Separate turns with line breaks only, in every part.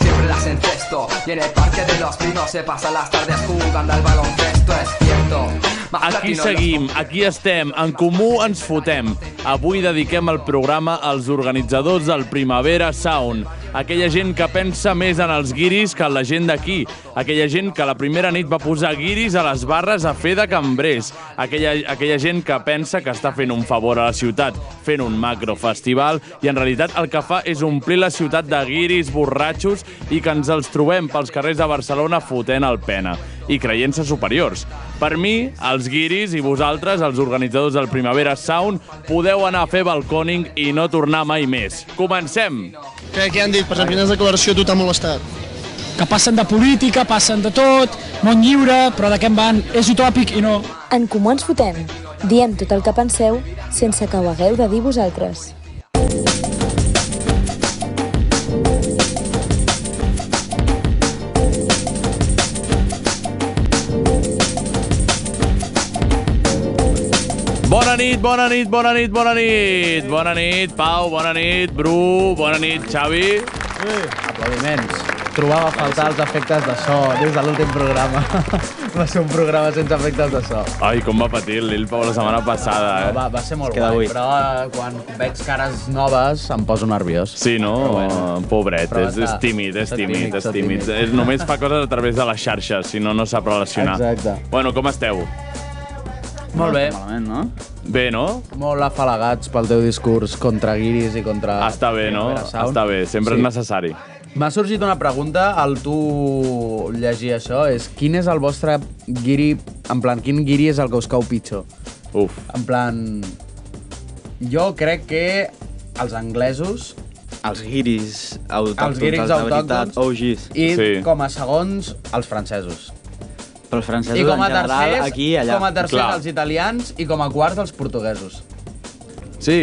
Siempre las encesto Y en el parque de los pinos se pasan las tardes jugando al baloncesto, es cierto Más
Aquí
platino
seguim, aquí estem, en comú ens fotem. Avui dediquem el programa als organitzadors del Primavera Sound, aquella gent que pensa més en els guiris que en la gent d'aquí, aquella gent que la primera nit va posar guiris a les barres a fer de cambrers, aquella, aquella gent que pensa que està fent un favor a la ciutat, fent un macrofestival, i en realitat el que fa és omplir la ciutat de guiris, borratxos, i que ens els trobem pels carrers de Barcelona fotent el pena i creient-se superiors. Per mi, els guiris i vosaltres, els organitzadors del Primavera Sound, podeu anar a fer balconing i no tornar mai més. Comencem!
Què, què han dit? Per la primera declaració a tu t'ha molestat.
que passen de política, passen de tot, món lliure, però de què en van? És utòpic i no.
En Comú Ens Fotem. Diem tot el que penseu sense que ho hagueu de dir vosaltres.
Bona nit, bona nit, bona nit, bona nit! Bona nit, Pau, bona nit, Bru, bona nit, Xavi.
Aplaudiments. Trobava a faltar els efectes de so des de l'últim programa. Va ser un programa sense efectes de so.
Ai, com va patir el Lil Pau la setmana passada, eh?
Va, va ser molt
queda
guai,
buit.
però eh, quan veig cares noves em poso nerviós.
Sí, no? Bueno, Pobret,
Però
és,
està-
és tímid, és
està
tímid,
tímid,
és
està
tímid.
tímid.
És, només fa coses a través de les xarxes, si no, no sap relacionar.
Exacte.
Bueno, com esteu?
Molt bé,
Malament, no?
Bé, no?
molt afalagats pel teu discurs contra guiris i contra...
Està bé, no?
Primavera Ah, Sound.
Està bé, sempre
Sí.
és necessari.
M'ha sorgit una pregunta al tu llegir això, és quin és el vostre guiri, en plan, quin guiri és el que us cau pitjor?
Uf.
En plan... Jo crec que els anglesos
Els guiris autòctons,
Els guiris
de veritat,
autòctons.
oh, OGs.
i,
Sí.
sí. com a segons, els francesos.
Però els francesos
I com a
en general,
tercers,
aquí i allà.
com a tercers
Clar.
els italians i com a quarts els portuguesos.
Sí,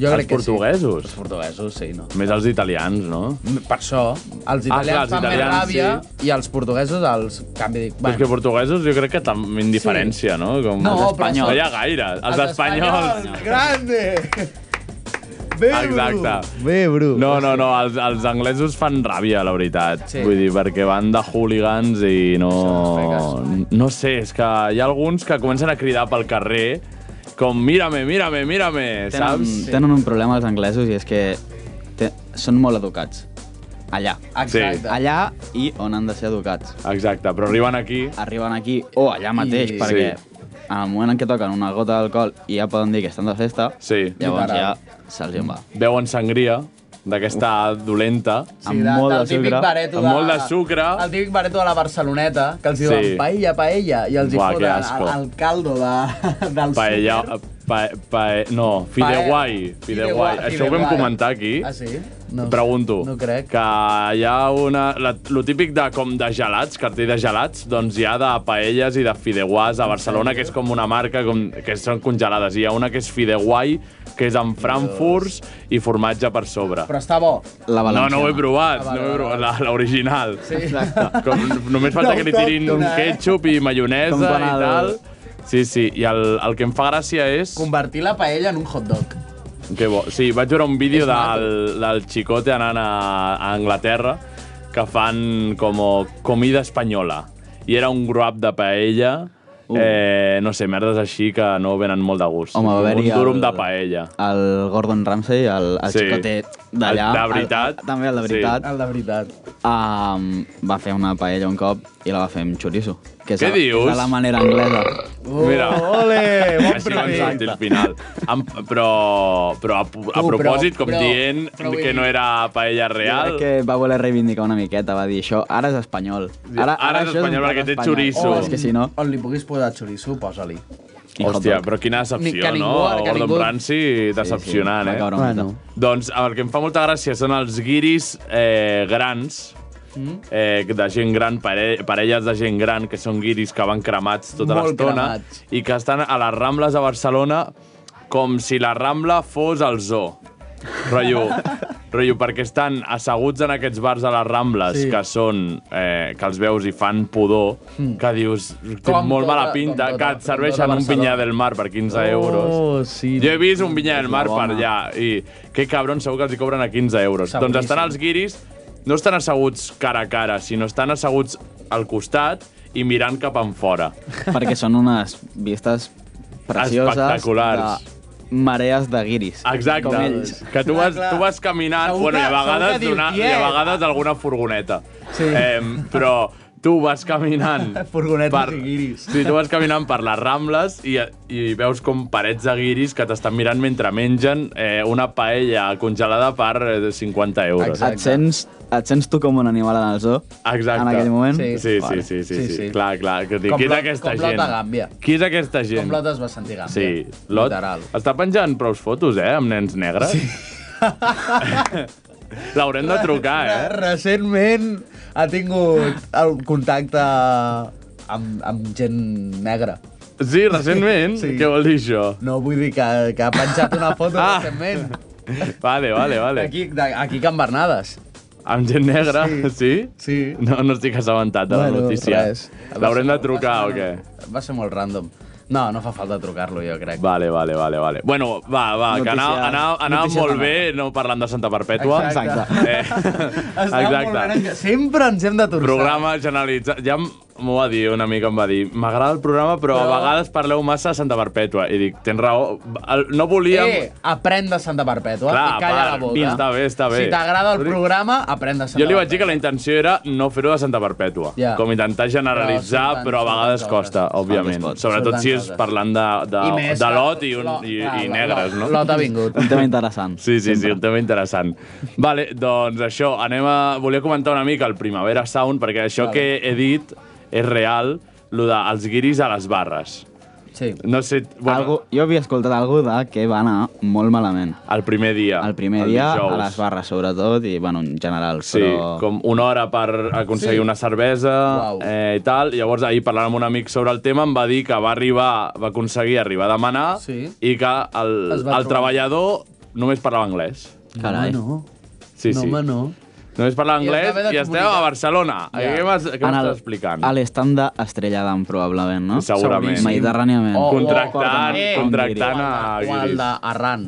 Jo
els
crec que sí.
portuguesos.
Els portuguesos, sí, no?
Més els italians, no?
Per això, els
Ah, clar,
italians
els
fan
italians,
més ràbia
sí.
i els portuguesos els canvi... dic,
Bueno. És que portuguesos jo crec que també indiferència, no? Com
No,
els
però
espanyols.
són-
No hi ha gaire. Els, espanyols.
Grande! Bé,
Exacte.
Bé, Bru.
No, no, no, els, els anglesos fan ràbia, la veritat. Sí.
Sí.
Vull dir, perquè van de hooligans i no... No sé, és que hi ha alguns que comencen a cridar pel carrer com mírame, mírame, mírame,
Tenen,
saps?
tenen un problema els anglesos i és que te, són molt educats. Allà.
Sí.
Exacte.
Allà i on han de ser educats.
Exacte, però arriben aquí...
Arriben aquí o allà mateix,
I-
I... perquè en el moment en què toquen una gota d'alcohol i ja poden dir que estan de festa,
Sí.
llavors ja
Literal.
se'ls en va.
Veuen sangria d'aquesta dolenta.
amb molt de
típic
sucre,
bareto
amb molt de sucre.
El típic bareto de la Barceloneta, que els
Sí.
diuen paella, paella, i els hi
Buah, que
foten
asco.
el, el caldo de, del
Paella...
súper.
Pa, pa, no, fideuai. Fideuai.
Fideuà-
Això ho vam
fideuà.
comentar aquí.
Ah, sí? No,
Pregunto.
No crec.
Que hi ha una... La, lo típic de, com de gelats, cartell de gelats, doncs hi ha de paelles i de fideuàs a Barcelona, que és com una marca com, que són congelades. Hi ha una que és fideuai, que és amb frankfurts i formatge per sobre.
Però està bo.
La
No,
valenciana.
no ho he provat,
Ah, vale,
no ho he
vale,
provat,
vale.
la- l'original. Sí. Com, només
No,
falta que li tirin un
autòctona, eh?
ketchup i maionesa
Com quan
i
el-
tal. Sí, sí, i el, el que em fa gràcia és...
Convertir la paella en un hot dog.
Que bo. Sí, vaig veure un vídeo
És maco.
del, del Chicote anant a, a Anglaterra que fan com comida espanyola. I era un grup de paella,
Uh.
eh, no sé, merdes així que no venen molt de gust.
Home, va
un
haver-hi
durum
el-
de paella.
El Gordon Ramsay, el, el
Sí.
sí. xicotet d'allà.
El de
el-
veritat.
El, també el de
Sí.
veritat.
El de veritat.
Um, va fer una paella un cop i la va fer amb xoriço. Que és
Què
la- que
dius?
És de la manera anglesa.
Oh,
Mira.
Ole, bon
Així doncs, vam
producte.
sentir el final. Am, però, però a, a
Tu, però-
propòsit, com
però-
dient
però vull
que
dir-
no era paella
Jo
real...
crec que va voler reivindicar una miqueta, va dir això, ara és espanyol.
Ara és
això un
espanyol
plat
perquè té
espanyol.
xoriço.
Oh, és que si no...
On li puguis posar xoriço, posa-li.
i hot
Hòstia,
dog.
però quina
Ni-
decepció,
que ningú-
no?
que
Gordon
ningú-
Ramsay, decepcionant,
va
eh?
caure
Bueno.
molt.
Doncs el que em fa molta gràcia són els guiris eh, grans mm. eh, de gent gran, pare parelles de gent gran que són guiris que van cremats tota
Molt
l'estona
cremats.
i que estan a les Rambles de Barcelona com si la Rambla fos el zoo. Rotllo, rotllo, perquè estan asseguts en aquests bars de les Rambles,
Sí.
sí. que són, eh, que els veus i fan pudor, mm. que dius, té
Com
molt
tota-
mala pinta,
com tota-
que
com
et serveixen
tota
un pinyà
Barcelona.
del mar per 15 euros.
Oh, sí.
Jo he vist un vinya del mar per allà i que cabrons, segur que els hi cobren a 15 euros.
Seguríssim.
Doncs estan els guiris, no estan asseguts cara a cara, sinó estan asseguts al costat i mirant cap enfora.
perquè són unes vistes precioses.
Espectaculars.
De marees de guiris.
Exacte.
Com ells.
Que tu vas,
Clar, clar.
tu vas caminant,
Segur
bueno, i a
que- segur
vegades,
que diu,
d'una- i a
"Tiet".
vegades alguna furgoneta.
Sí.
Em, però tu vas caminant...
Furgonetes i guiris.
Sí, tu vas caminant per les Rambles i, i veus com parets de guiris que t'estan mirant mentre mengen eh, una paella congelada per eh, 50 euros.
Exacte.
Et sents, et sents tu com un animal en el zoo?
Exacte.
En aquell moment?
Sí,
Sí.
sí, sí,
Vale.
sí, sí,
Sí,
sí,
sí.
Clar, clar. Que dic,
Com
qui és
l'Ot-
aquesta
com l'Ot
gent?
de Gàmbia.
Qui és aquesta gent?
Com l'Ot es va sentir gàmbia.
Sí, l'Ot
Literal.
està penjant prou fotos, eh, amb nens negres. Sí. L'haurem de trucar, eh?
Recentment ha tingut el contacte amb, amb gent negra.
Sí, recentment. Sí.
Sí.
Què vol dir això?
No vull dir que, que ha penjat una foto
Ah.
ah. recentment.
Vale, vale, vale. Aquí.
Aquí, de, aquí Can Bernades.
Amb gent negra, sí?
Sí. Sí.
No, no estic assabentat de la
Bueno,
notícia.
res.
L'haurem de trucar
Va
o què?
ser- Va ser molt random. No, no fa falta trucar-lo, jo crec.
Vale, vale, vale, vale. Bueno, va, va, que
Notícia-
anava, anava, anava
notícia
molt
de
bé no parlant de Santa Perpètua.
Exacte.
Eh,
Estava molt
exacte.
bé, Sempre ens hem de torçar.
Programa generalitzat. Ja m- m'ho va dir una mica, em va dir m'agrada el programa, però, però a vegades parleu massa de Santa Perpètua. I dic, tens raó, el- no volíem...
Eh, aprèn de Santa Perpètua
Clar,
i calla
a
la
part,
boca.
està bé, està bé.
Si t'agrada el
Jo li-
programa, aprèn de Santa
Jo li vaig dir que la intenció era no fer-ho de Santa Perpètua,
Ja.
com intentar generalitzar,
surten-
però, a vegades
surten
costa,
coses.
òbviament.
Surten
Sobretot si és
coses.
parlant de, de,
I més
de
que-
lot i, un,
Lot,
i,
clar,
i
Lot,
negres, no?
Lot ha vingut.
Un tema interessant.
Sí, sí, sí, un tema interessant. Vale, doncs això, anem a... Volia comentar una mica el Primavera Sound, perquè això vale. que he dit és real, lo de els guiris a les barres.
Sí.
No sé...
Bueno. Algo, jo havia escoltat algú de que va anar molt malament.
El primer dia.
El primer dia,
dijous.
a les barres sobretot, i bueno, en general,
Sí,
però...
com una hora per aconseguir sí.
Sí.
una cervesa
Uau.
eh, i tal. Llavors, ahir parlant amb un amic sobre el tema, em va dir que va arribar, va aconseguir arribar a demanar
Sí.
i que el,
Es va
el
trobar.
treballador només parlava anglès.
Carai.
No, home,
Sí,
no.
sí.
No, home, no.
Només parla
I es va
anglès
haver de
i, esteu
comunicar.
a Barcelona. Yeah. Què m'has- què
En el-
m'estàs explicant?
A l'estand d'Estrelladam, probablement, no?
Segurament. Oh, Seguríssim.
Mediterràniament.
O-
Contractant,
Eh,
contractant a
O el
Guiris.
d'Arran.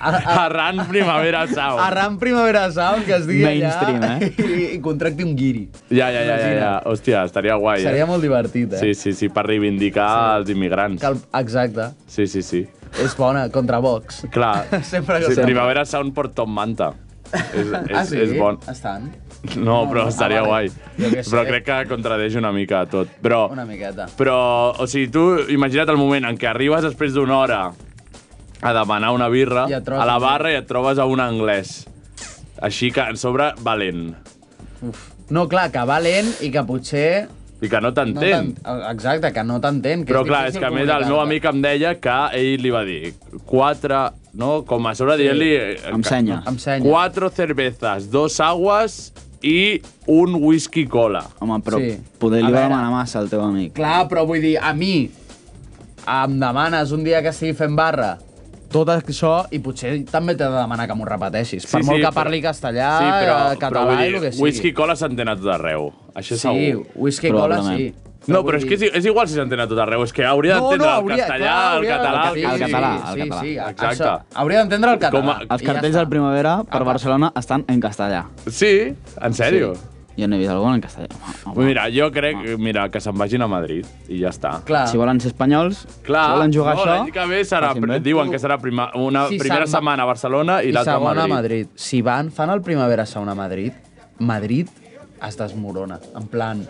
Arran Primavera Sound.
Arran Primavera Sound, que es digui
Mainstream,
allà,
eh?
i, i contracti un guiri.
Ja, ja, ja, ja, ja.
Imagina't.
Hòstia, estaria guai,
Seria
eh?
molt divertit, eh?
Sí, sí, sí, per reivindicar els immigrants.
Que el, exacte.
Sí, sí, sí.
És bona, contra Vox.
Clar.
Sempre que
sí,
sembla.
Primavera Sound por Tom Manta. És, és,
ah, sí?
és bon.
Estan?
No, però
no.
estaria
Ah,
guai.
vale. Jo què sé.
Però crec que contradeix una mica tot. Però,
Una miqueta.
però, o sigui, tu imagina't el moment en què arribes després d'una hora a demanar una birra
I et
a
trobes
la
amb-
barra i et trobes a un anglès. Així que, en sobre, valent.
No, clar, que va lent i que potser...
I que no
No
t'entén.
t'en- eh, Exacte, que no t'entén. que
Però clar, és
difícil
que a més el meu
comunicar-te.
amic em deia que ell li va dir quatre, no? Com a sobre sí. dient-li... eh,
Amb senya.
Em senya.
Quatre cervezas, dos aguas i un whisky cola.
Home, però sí.
Sí.
poder
A
li va
veure.
demanar massa al teu amic.
Clar, però vull dir, a mi em demanes un dia que estigui fent barra tot això i potser també t'he de demanar que m'ho repeteixis. Sí, per molt sí, que parli però... castellà, sí, però, català
vull
i el que sigui.
Whisky cola s'entén a tot arreu. Això
sí,
és segur.
whisky cola sí.
Probablement.
No, però
vull
és que és, és igual si s'entén a tot arreu. És que hauria
No,
d'entendre el
no, hauria,
castellà,
clar,
el
hauria de-
català...
sí,
el
el català,
sí,
el
sí,
català.
Sí,
Exacte.
Això, hauria d'entendre el
Com
català.
a-
Els
I
cartells
ja
del Primavera per
Apa.
Barcelona estan en castellà.
Sí, en sèrio.
Jo n'he vist algun en castellà. Home,
Mira, jo crec mira, que se'n vagin a Madrid i ja està.
Clar,
Si volen ser espanyols,
Clar,
si volen
no,
jugar a això...
l'any que ve serà,
facin bé.
diuen que serà prima, una
Sí,
primera
se'n va-
setmana a Barcelona i,
i
l'altra a
segona
Madrid.
a Madrid. Si van, fan el Primavera Sound a Madrid, Madrid es desmorona. En plan,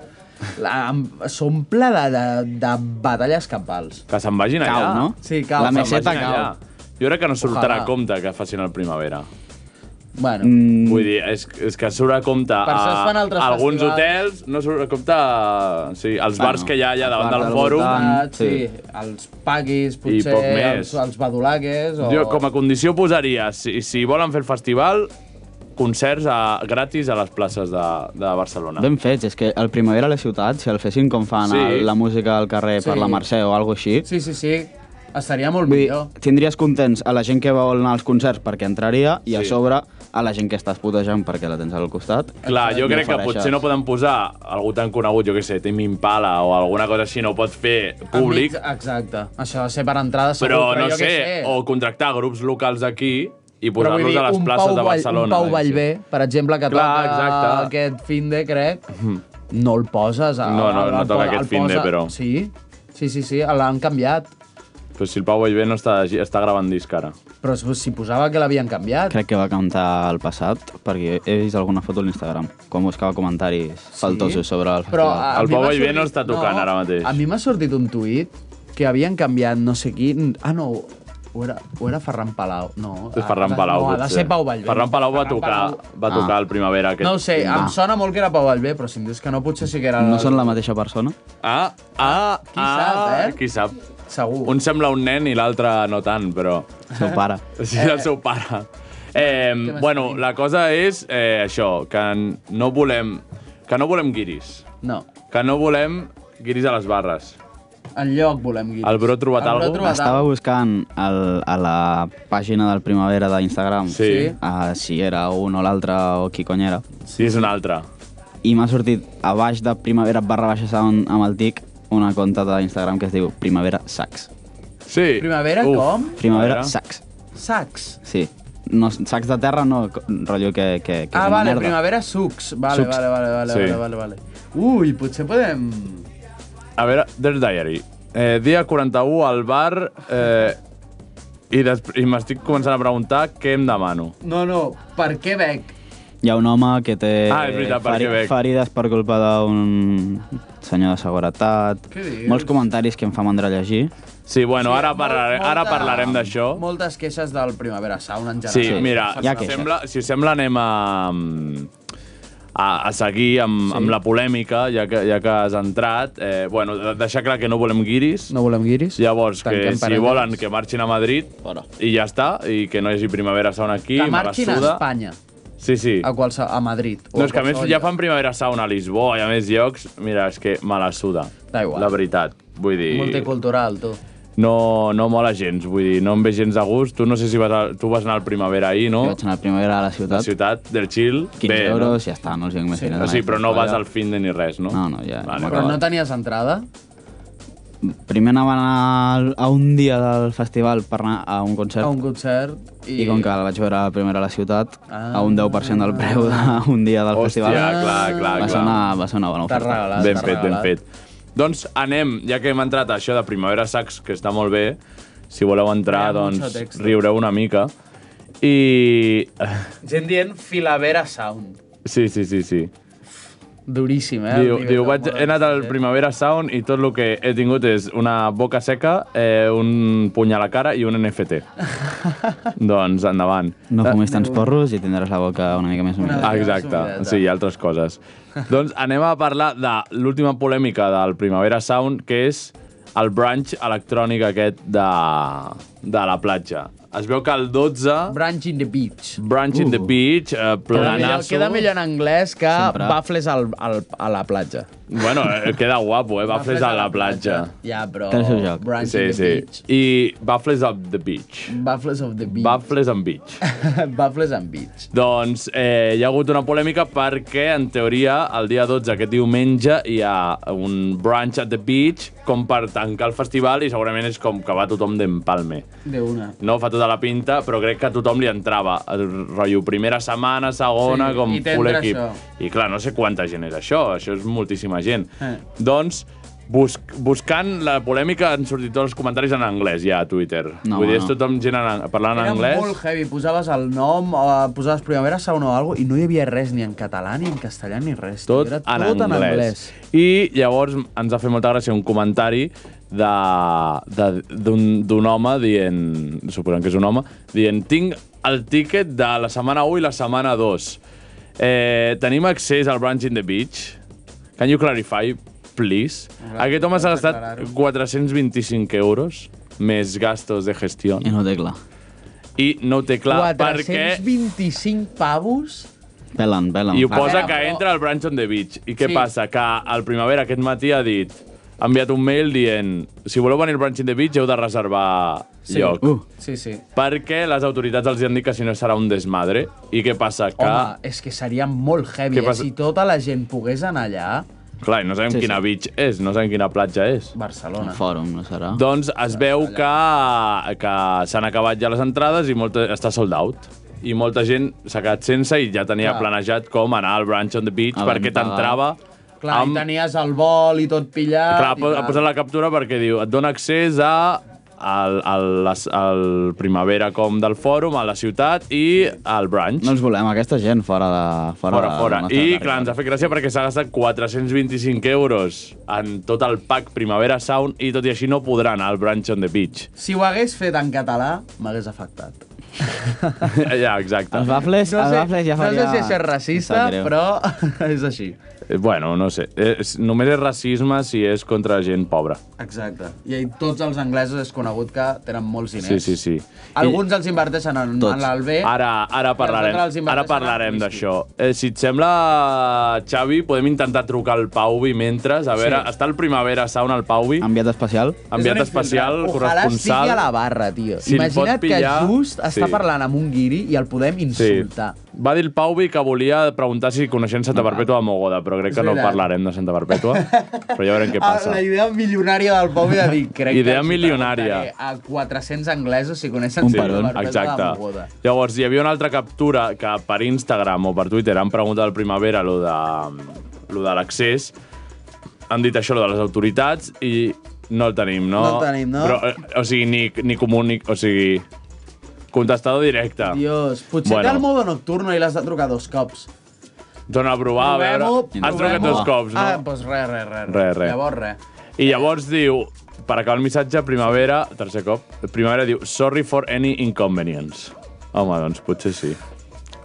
la- em- s'omple de, de, de batalles campals.
Que se'n vagin
Cau,
allà.
no?
Sí, cau,
La
se'n
meseta
Vagin
cau.
allà. Jo crec que no sortirà
Ojalà.
a compte que facin el Primavera.
Bueno,
Mm. Vull dir, és, és que surt a compte
Per això es fan
a
altres
alguns
festivals.
hotels, no surt a compte a, sí, als
Bueno,
bars que hi ha allà
els
davant
bars
del
al
fòrum.
voltant.
tant, sí.
sí.
sí. Els paguis, potser,
poc més.
els, els badulaques... O...
Jo com a condició posaria, si, si volen fer el festival, concerts a, gratis a les places de, de Barcelona.
Ben fets, és que el Primavera a la ciutat, si el fessin com fan
Sí.
sí. la música al carrer sí. per
Sí.
la Mercè o alguna així,
Sí, sí, sí. Estaria molt
Vull dir,
millor.
tindries contents a la gent que vol anar als concerts perquè entraria i a
Sí.
sobre a la gent que estàs putejant perquè la tens al costat.
Clar, jo
No
crec que
farà això.
potser no poden posar algú tan conegut, jo què sé, Tim Impala o alguna cosa així, no ho pot fer públic,
Enmig- Exacte. Això de ser per entrada segur,
però no
jo què
sé,
sé.
o contractar grups locals aquí i
Però vull
posar-los
dir,
a les
un
places
Pau
de
Vall-
Barcelona.
Un Pau
sí.
Vallbé, per exemple, que
Clar,
toca
exacte. Mhm.
aquest fin de, crec, no el poses. A,
No, no,
el-
no
el
toca
po-
aquest
el
finde,
posa-
però.
Sí, sí, sí, sí l'han canviat.
Però si el Pau Vallvé no està, està gravant disc ara.
Però si posava que l'havien canviat.
Crec que va cantar al passat, perquè he vist alguna foto a l'Instagram, quan buscava comentaris faltosos sobre el
Però
festival.
a
El
mi
Pau
m'ha
Vallvé
sortit-
no està tocant ara mateix.
A mi m'ha sortit un tuit que havien canviat no sé qui... Ah, no, ho era, ho era Ferran Palau. Ah, No,
És Ferran Palau,
no, ha de
potser.
ser Pau Vallvé.
Ferran Palau va tocar,
Palau-
va tocar
Ah.
el Primavera. Aquest...
No ho sé, em sona molt que era Pau Vallvé, però si em dius que no, potser sí que
eh,
era...
No són la mateixa persona?
Ah, ah,
Qui
ah,
sap, eh?
Qui sap.
Segur.
Uh. Un sembla un nen i l'altre no tant, però...
El seu pare.
Sí, eh, el seu pare. Eh, bueno, la cosa és eh, això, que n- no volem que no volem guiris,
No.
que no volem guiris a les barres.
En lloc volem guiris.
El Bro ha trobat
El Bro ha
algo?
trobat
Estava
algo.
buscant el, a la pàgina del Primavera d'Instagram
Sí.
a si era un o l'altre o qui cony era.
Sí, és un altre.
I m'ha sortit a baix de Primavera barra baixa sound amb el tic una conta d'Instagram que es diu Primavera Sacs.
Sí.
Primavera com?
Primavera Sacs.
Sacs.
Sí. No, sacs de terra no, co- rotllo que, que, que
ah,
és una
vale,
merda.
primavera sucs. Vale,
Sucs.
vale, vale, vale,
Sí.
vale, vale, vale. Ui, potser podem...
A veure, The Diary. Eh, dia 41 al bar eh, i, després- i m'estic començant a preguntar què em demano.
No, no, per què bec?
Hi ha un home que té
Ah, és veritat, per Quebec.
ferides per culpa d'un senyor de seguretat.
Què dius?
Molts comentaris que em fa mandra llegir.
Sí, bueno,
Sí,
ara,
molt-
parlarem, ara
molta-
parlarem d'això.
Moltes queixes del Primavera Sound en
Sí,
general.
Sí.
mira,
Hi ha
si
queixes.
sembla, si us sembla anem a, a, a seguir amb, sí. amb la polèmica, ja que, ja que has entrat. Eh, bueno, de- deixar clar que no volem guiris.
No volem guiris?
Llavors, que
Tanquem
si
parelles.
volen que marxin a Madrid
Fora.
i ja està, i que no hi hagi primavera sauna aquí,
Que
me la
marxin a
suda.
Espanya,
Sí, sí.
a, qualse... a Madrid. o
No, és que a més
qualsevol
ja
lloc.
fan primavera sauna a Lisboa i a més llocs. Mira, és que me la suda.
Da igual.
La veritat. Vull dir...
Multicultural, tu.
No, no mola gens, vull dir, no em ve gens a gust. Tu no sé si vas a, tu vas anar al primavera ahir, no?
Jo vaig anar a Primavera a la
La
ciutat,
ciutat del Xil,
15
bé, no?
euros, ja està, no els hi hem
O sigui, però no vas al fin de ni res, no?
No, no, ja,
Vale,
no
Però
vale.
no tenies entrada?
Primer anava a anar a un dia del festival per anar a un concert.
A un concert i...
I com que el vaig veure primer a la ciutat,
Ah.
a un 10% del preu d'un dia del
Hòstia,
festival,
clar, clar,
va, ser
clar.
una, va ser una bona
T'has
oferta.
regalat.
Ben
t'has
fet, ben
regalat.
fet. Doncs anem, ja que hem entrat a això de Primavera Sacs, que està molt bé, si voleu entrar,
Hi ha mucho
doncs
texto.
riureu una mica. I...
Gent dient Filavera Sound.
Sí, sí, sí, sí.
Duríssim, eh? el
Diu,
nivell
diu
de
vaig,
humor
he anat al
d'aquesta gent.
Primavera Sound i tot el que he tingut és una boca seca, eh, un puny a la cara i un NFT. doncs endavant.
No fumis tants porros i tindràs la boca una mica més humida.
Ah,
Una
Exacte, sí, i
miqueta.
altres coses. doncs anem a parlar de l'última polèmica del Primavera Sound, que és el brunch electrònic aquest de, de la platja. Es veu que el 12,
Brunch in the beach.
brunch in the beach, eh,
Queda millor,
planasso...
queda millor en anglès que
Sempre.
bafles al, al, a la platja.
Bueno, eh, queda guapo, eh? Bafles a la platja.
Ja, però...
Té el seu joc.
Brunch
Sí,
in the
sí.
beach.
I Bafles of the beach.
Bafles of the beach.
Bafles and beach.
Bafles and beach.
Doncs eh, hi ha hagut una polèmica perquè, en teoria, el dia 12, aquest diumenge, hi ha un brunch at the beach com per tancar el festival i segurament és com que va tothom d'empalme.
De una.
No fa tota la pinta, però crec que a tothom li entrava. El rotllo primera setmana, segona,
Sí,
com
i
full
tendre
equip.
això.
I clar, no sé quanta gent és això, això és moltíssima gent.
Eh.
Doncs, bus buscant la polèmica han sortit tots els comentaris en anglès ja a Twitter.
No,
Vull dir, és
no.
tothom gent en, parlant en
Era
anglès.
molt heavy, posaves el nom, eh, posaves Primavera Sound o alguna i no hi havia res ni en català, ni en castellà, ni res. tio.
tot,
Era
en, anglès. I llavors ens ha fet molta gràcia un comentari de- de- d'un d'un home dient, suposem que és un home, dient, tinc el tiquet de la setmana 1 i la setmana 2. Eh, tenim accés al Brunch in the Beach? Can you clarify, please? Aquest home s'ha gastat 425 euros més gastos de gestió.
I no té clar.
i no ho té clar perquè...
425 pavos?
Pelen, pelen.
I ho posa
veure,
que
però-
entra al Branch on the Beach. I què
Sí.
passa? Que el Primavera aquest matí ha dit ha enviat un mail dient si voleu venir al Branch on the Beach heu de reservar lloc.
Uh,
Sí, sí.
Perquè les autoritats els hi han dit que si no serà un desmadre. I què passa? Que,
Home, és que seria molt heavy.
Què
Eh?
passa?
Si tota la gent pogués anar allà,
clar, i no sabem
Sí,
sí, quina
sí.
beach és, no sabem quina platja és.
un
Barcelona.
fòrum, no serà?
Doncs es veu que, que s'han acabat ja les entrades i molta, està sold out. I molta gent s'ha quedat sense i ja tenia
Clar.
planejat com anar al Branch on the Beach
Ah,
perquè
vam
t'entrava
pagar.
Clar, i tenies el vol i tot pillat.
Clar,
i
po- ha posat la captura perquè diu et dona accés a al, al, les- al Primavera com del fòrum, a la ciutat i al branch.
No els volem, aquesta gent, fora de... Fora,
fora,
de-
fora.
del nostre
I,
territori.
clar, ens ha fet gràcia perquè s'ha gastat 425 euros en tot el pack Primavera Sound i tot i així no podrà anar al branch on the beach.
Si ho hagués fet en català, m'hagués afectat.
ja, exacte.
Els baffles, els baffles ja
no
faria...
sé si això és
Em
racista,
sap greu.
però és així.
Eh, Bueno, no sé. És, només és racisme si és contra gent pobra.
Exacte. I ahí tots els anglesos és conegut que tenen molts diners.
Sí, sí, sí.
Alguns els inverteixen en,
Tots.
en l'Albé.
Ara, ara parlarem,
els inverteixen
ara
en
parlarem
whisky.
d'això. Eh, si et sembla, Xavi, podem intentar trucar al Pauvi mentre. A veure, sí. està el Primavera Sauna al Pauvi,
Enviat especial?
enviat especial,
Ojalà
corresponsal.
estigui a la barra, tio.
Si el pot
Imagina't
pillar,
que just està
sí.
parlant amb un guiri i el podem insultar.
Va dir el Pauvi que volia preguntar si coneixem Santa Perpètua de Mogoda, però crec
És
que no
veritat.
parlarem de Santa Perpètua. però ja veurem què
Ah,
passa.
La idea milionària del Pau de dir, crec
Idea
els hi
milionària.
preguntaré eh, A 400 anglesos si coneixen
Un
Santa
per un,
Barbeta de
Exacte.
Mogoda.
Llavors, hi havia una altra captura que per Instagram o per Twitter han preguntat al Primavera lo de, lo de l'accés. Han dit això, lo de les autoritats, i no el tenim, no?
No el tenim, no?
Però, eh, o sigui, ni, ni comunic... O sigui, contestador directe.
Dios, potser
Ah. Bueno.
bueno. té el modo nocturno i l'has de trucar dos cops.
Dona a provar, a veure...
Provem-ho,
Has trucat
provem-ho.
dos cops, no?
Ah, doncs pues res, res, res.
Res, res.
Llavors, res.
I llavors diu, per acabar el missatge, Primavera, tercer cop, Primavera diu, sorry for any inconvenience. Home, doncs potser sí.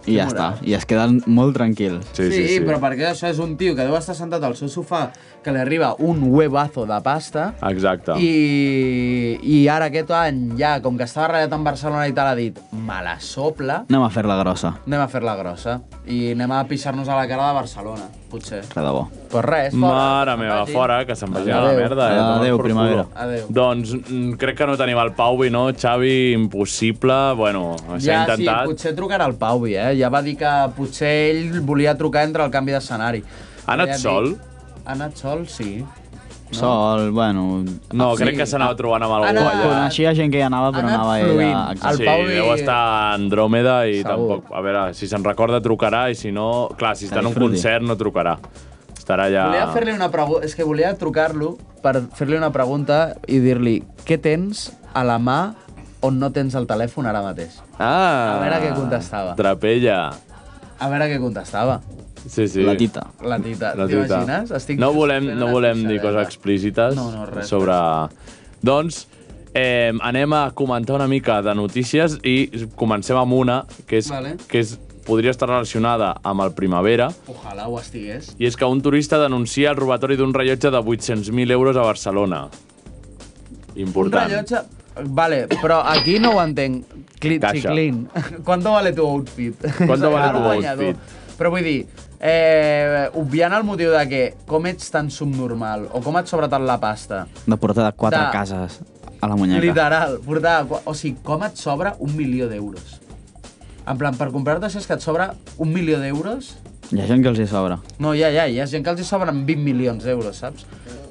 I ja està. I es queden molt tranquils.
Sí, sí, sí.
però perquè això és un tio que deu estar sentat al seu sofà, que li arriba un huevazo de pasta,
Exacte.
i, i ara aquest any, ja, com que estava ratllat en Barcelona i tal, ha dit, me la sopla,
Anem a fer-la grossa.
anem a fer-la grossa. I anem a pixar-nos a la cara de Barcelona, potser.
Res de bo.
Però res, fora.
Mare meva,
vagi.
fora, que se'n vagi a la
Adéu.
merda. Eh?
Adéu,
Toma'ls per
primavera.
culo.
Adéu.
Doncs mm, crec que no tenim el Pauvi, no? Xavi, impossible. Bueno, s'ha
Ja, sí,
intentat.
potser trucarà el Pauvi, eh? Ja va dir que potser ell volia trucar entre el canvi d'escenari.
Ha anat
Ja dic-
sol?
Ha anat sol, sí.
Sol, bueno...
No,
Sí.
crec que s'anava trobant amb algú
Ara-
allà.
Coneixia gent que hi anava,
Ha
però
anat
anava
fluint.
ella...
El
sí,
Pauvi-
deu estar a Andròmeda i
Segur.
tampoc... A veure, si se'n recorda trucarà i si no... Clar, si està en un
disfruti.
concert no trucarà. Estarà allà...
Volia fer-li una pregunta... És que volia trucar-lo per fer-li una pregunta i dir-li què tens a la mà on no tens el telèfon ara mateix.
Ah!
A veure què contestava.
Trapella.
A veure què contestava.
Sí, sí.
La tita.
La tita.
La tita.
T'imagines? Estic
No volem,
fent
no
una
volem dir
pixadeta.
coses explícites
No, no, res,
sobre... Doncs eh, anem a comentar una mica de notícies i comencem amb una que, és,
Vale.
que és, podria estar relacionada amb el Primavera
Ojalà ho estigués.
i és que un turista denuncia el robatori d'un rellotge de 800.000 euros a Barcelona.
Un
Important.
rellotge... Vale, però aquí no ho entenc. Clit,
Caixa.
xiclin. ¿Cuánto vale tu outfit?
¿Cuánto vale tu
Ara guanyador.
outfit?
Però vull dir, eh, obviant el motiu de que com ets tan subnormal o com et sobra tant la pasta,
De portar quatre
De-
cases a la munyaca.
literal, portar... qua- O sigui, com et sobra un milió d'euros? En plan, per comprar-te això és que et sobra un milió d'euros?
Hi ha gent que els hi sobra.
No, ja, ja, hi ha gent que els hi sobren 20 milions d'euros, saps?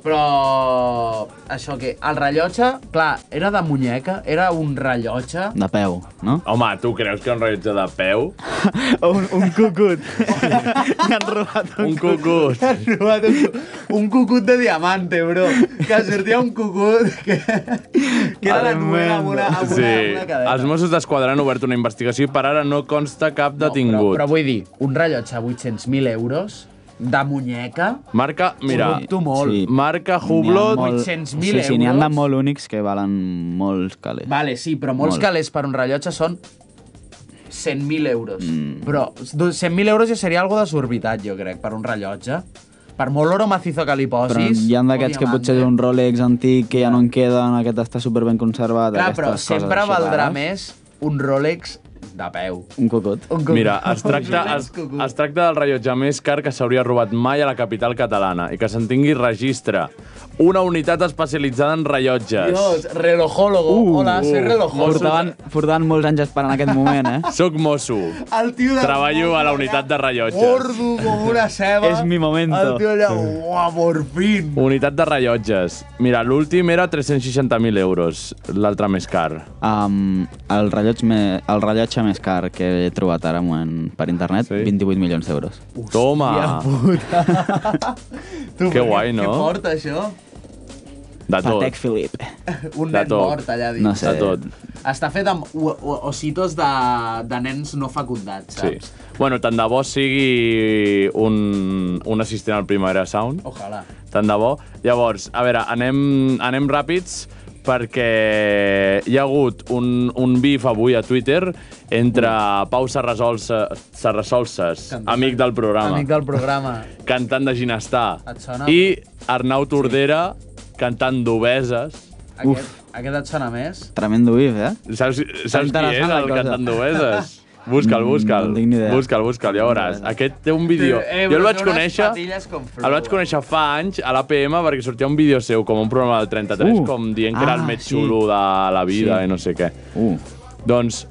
Però això que el rellotge, clar, era de muñeca, era un rellotge.
De peu, no?
Home, tu creus que un rellotge de peu?
un, un cucut. han robat
Un cucut.
T'has robat un, un cucut de diamante, bro. Que sortia un cucut que, que era la nuera amb una, amb una, amb
Sí.
una cadena.
Els Mossos d'Esquadra han obert una investigació i per ara no consta cap
però,
detingut.
però vull dir, un rellotge a 800.000 euros de muñeca,
Marca, mira,
tu molt.
Sí.
marca Hublot,
molt.
sí,
800.000
Sí, n'hi han de
euros.
molt únics que valen molts calés.
Vale, sí, però molts
Molt.
calés per un rellotge són 100.000 euros.
Mm.
Però 100.000 euros ja seria algo desorbitat, jo crec, per un rellotge. Per molt oro macizo que li
però
posis...
hi ha d'aquests
o
que potser
diamant,
és
eh?
un Rolex antic que ja no en queden, aquest està superben conservat,
Clar,
aquestes
però
coses
sempre
així
valdrà
rares.
més un Rolex de peu.
Un cocot.
Un
Mira, es
un
tracta, es,
Rolex cucut.
es tracta del rellotge més car que s'hauria robat mai a la capital catalana i que se'n tingui registre. Una unitat especialitzada en rellotges.
Dios, relojólogo.
Uh,
Hola, soy relojólogo.
Portaven, portaven molts anys esperant aquest moment, eh?
Soc mosso.
El tio de...
Treballo a la unitat de rellotges.
Gordo com una ceba.
És mi momento.
El tio allà, uah, por fin.
Unitat de rellotges. Mira, l'últim era 360.000 euros, l'altre més car.
Um, el, rellotge me, el rellotge més car que he trobat ara en, per internet,
Sí.
sí. 28 milions d'euros.
Toma!
Tu,
Que
però
guai,
Què
Ah. no?
porta, això?
De tot.
Patek Philippe.
Un
De
nen
tot.
mort allà dins.
No sé.
De tot.
Està fet amb o- o- ositos de, de nens no fecundats,
Sí.
saps?
Bueno, tant de bo sigui un, un assistent al Primavera Sound.
Ojalà.
Tant de bo. Llavors, a veure, anem, anem ràpids perquè hi ha hagut un, un bif avui a Twitter entre Pau Serrasolsa, Serrasolses,
Mm. Cantant.
amic del programa,
Amic del programa.
cantant de Ginestar,
Et sona?
i Arnau Tordera, cantant d'Obeses.
Aquest, aquest et sona més?
Tremendo if, eh?
Saps, saps qui és
Interessant la
el
cosa.
cantant d'Obeses? Busca'l,
Mm,
busca'l.
no tinc ni idea.
Busca'l, busca'l, ja veuràs. Aquest té un vídeo.
Eh,
jo el
però
vaig
té unes
conèixer...
patilles com
El vaig conèixer fa anys a l'APM perquè sortia un vídeo seu com un programa del 33,
Uh,
com dient que era el
ah,
més
sí.
xulo de la vida
Sí.
i no sé què.
Uh.
Doncs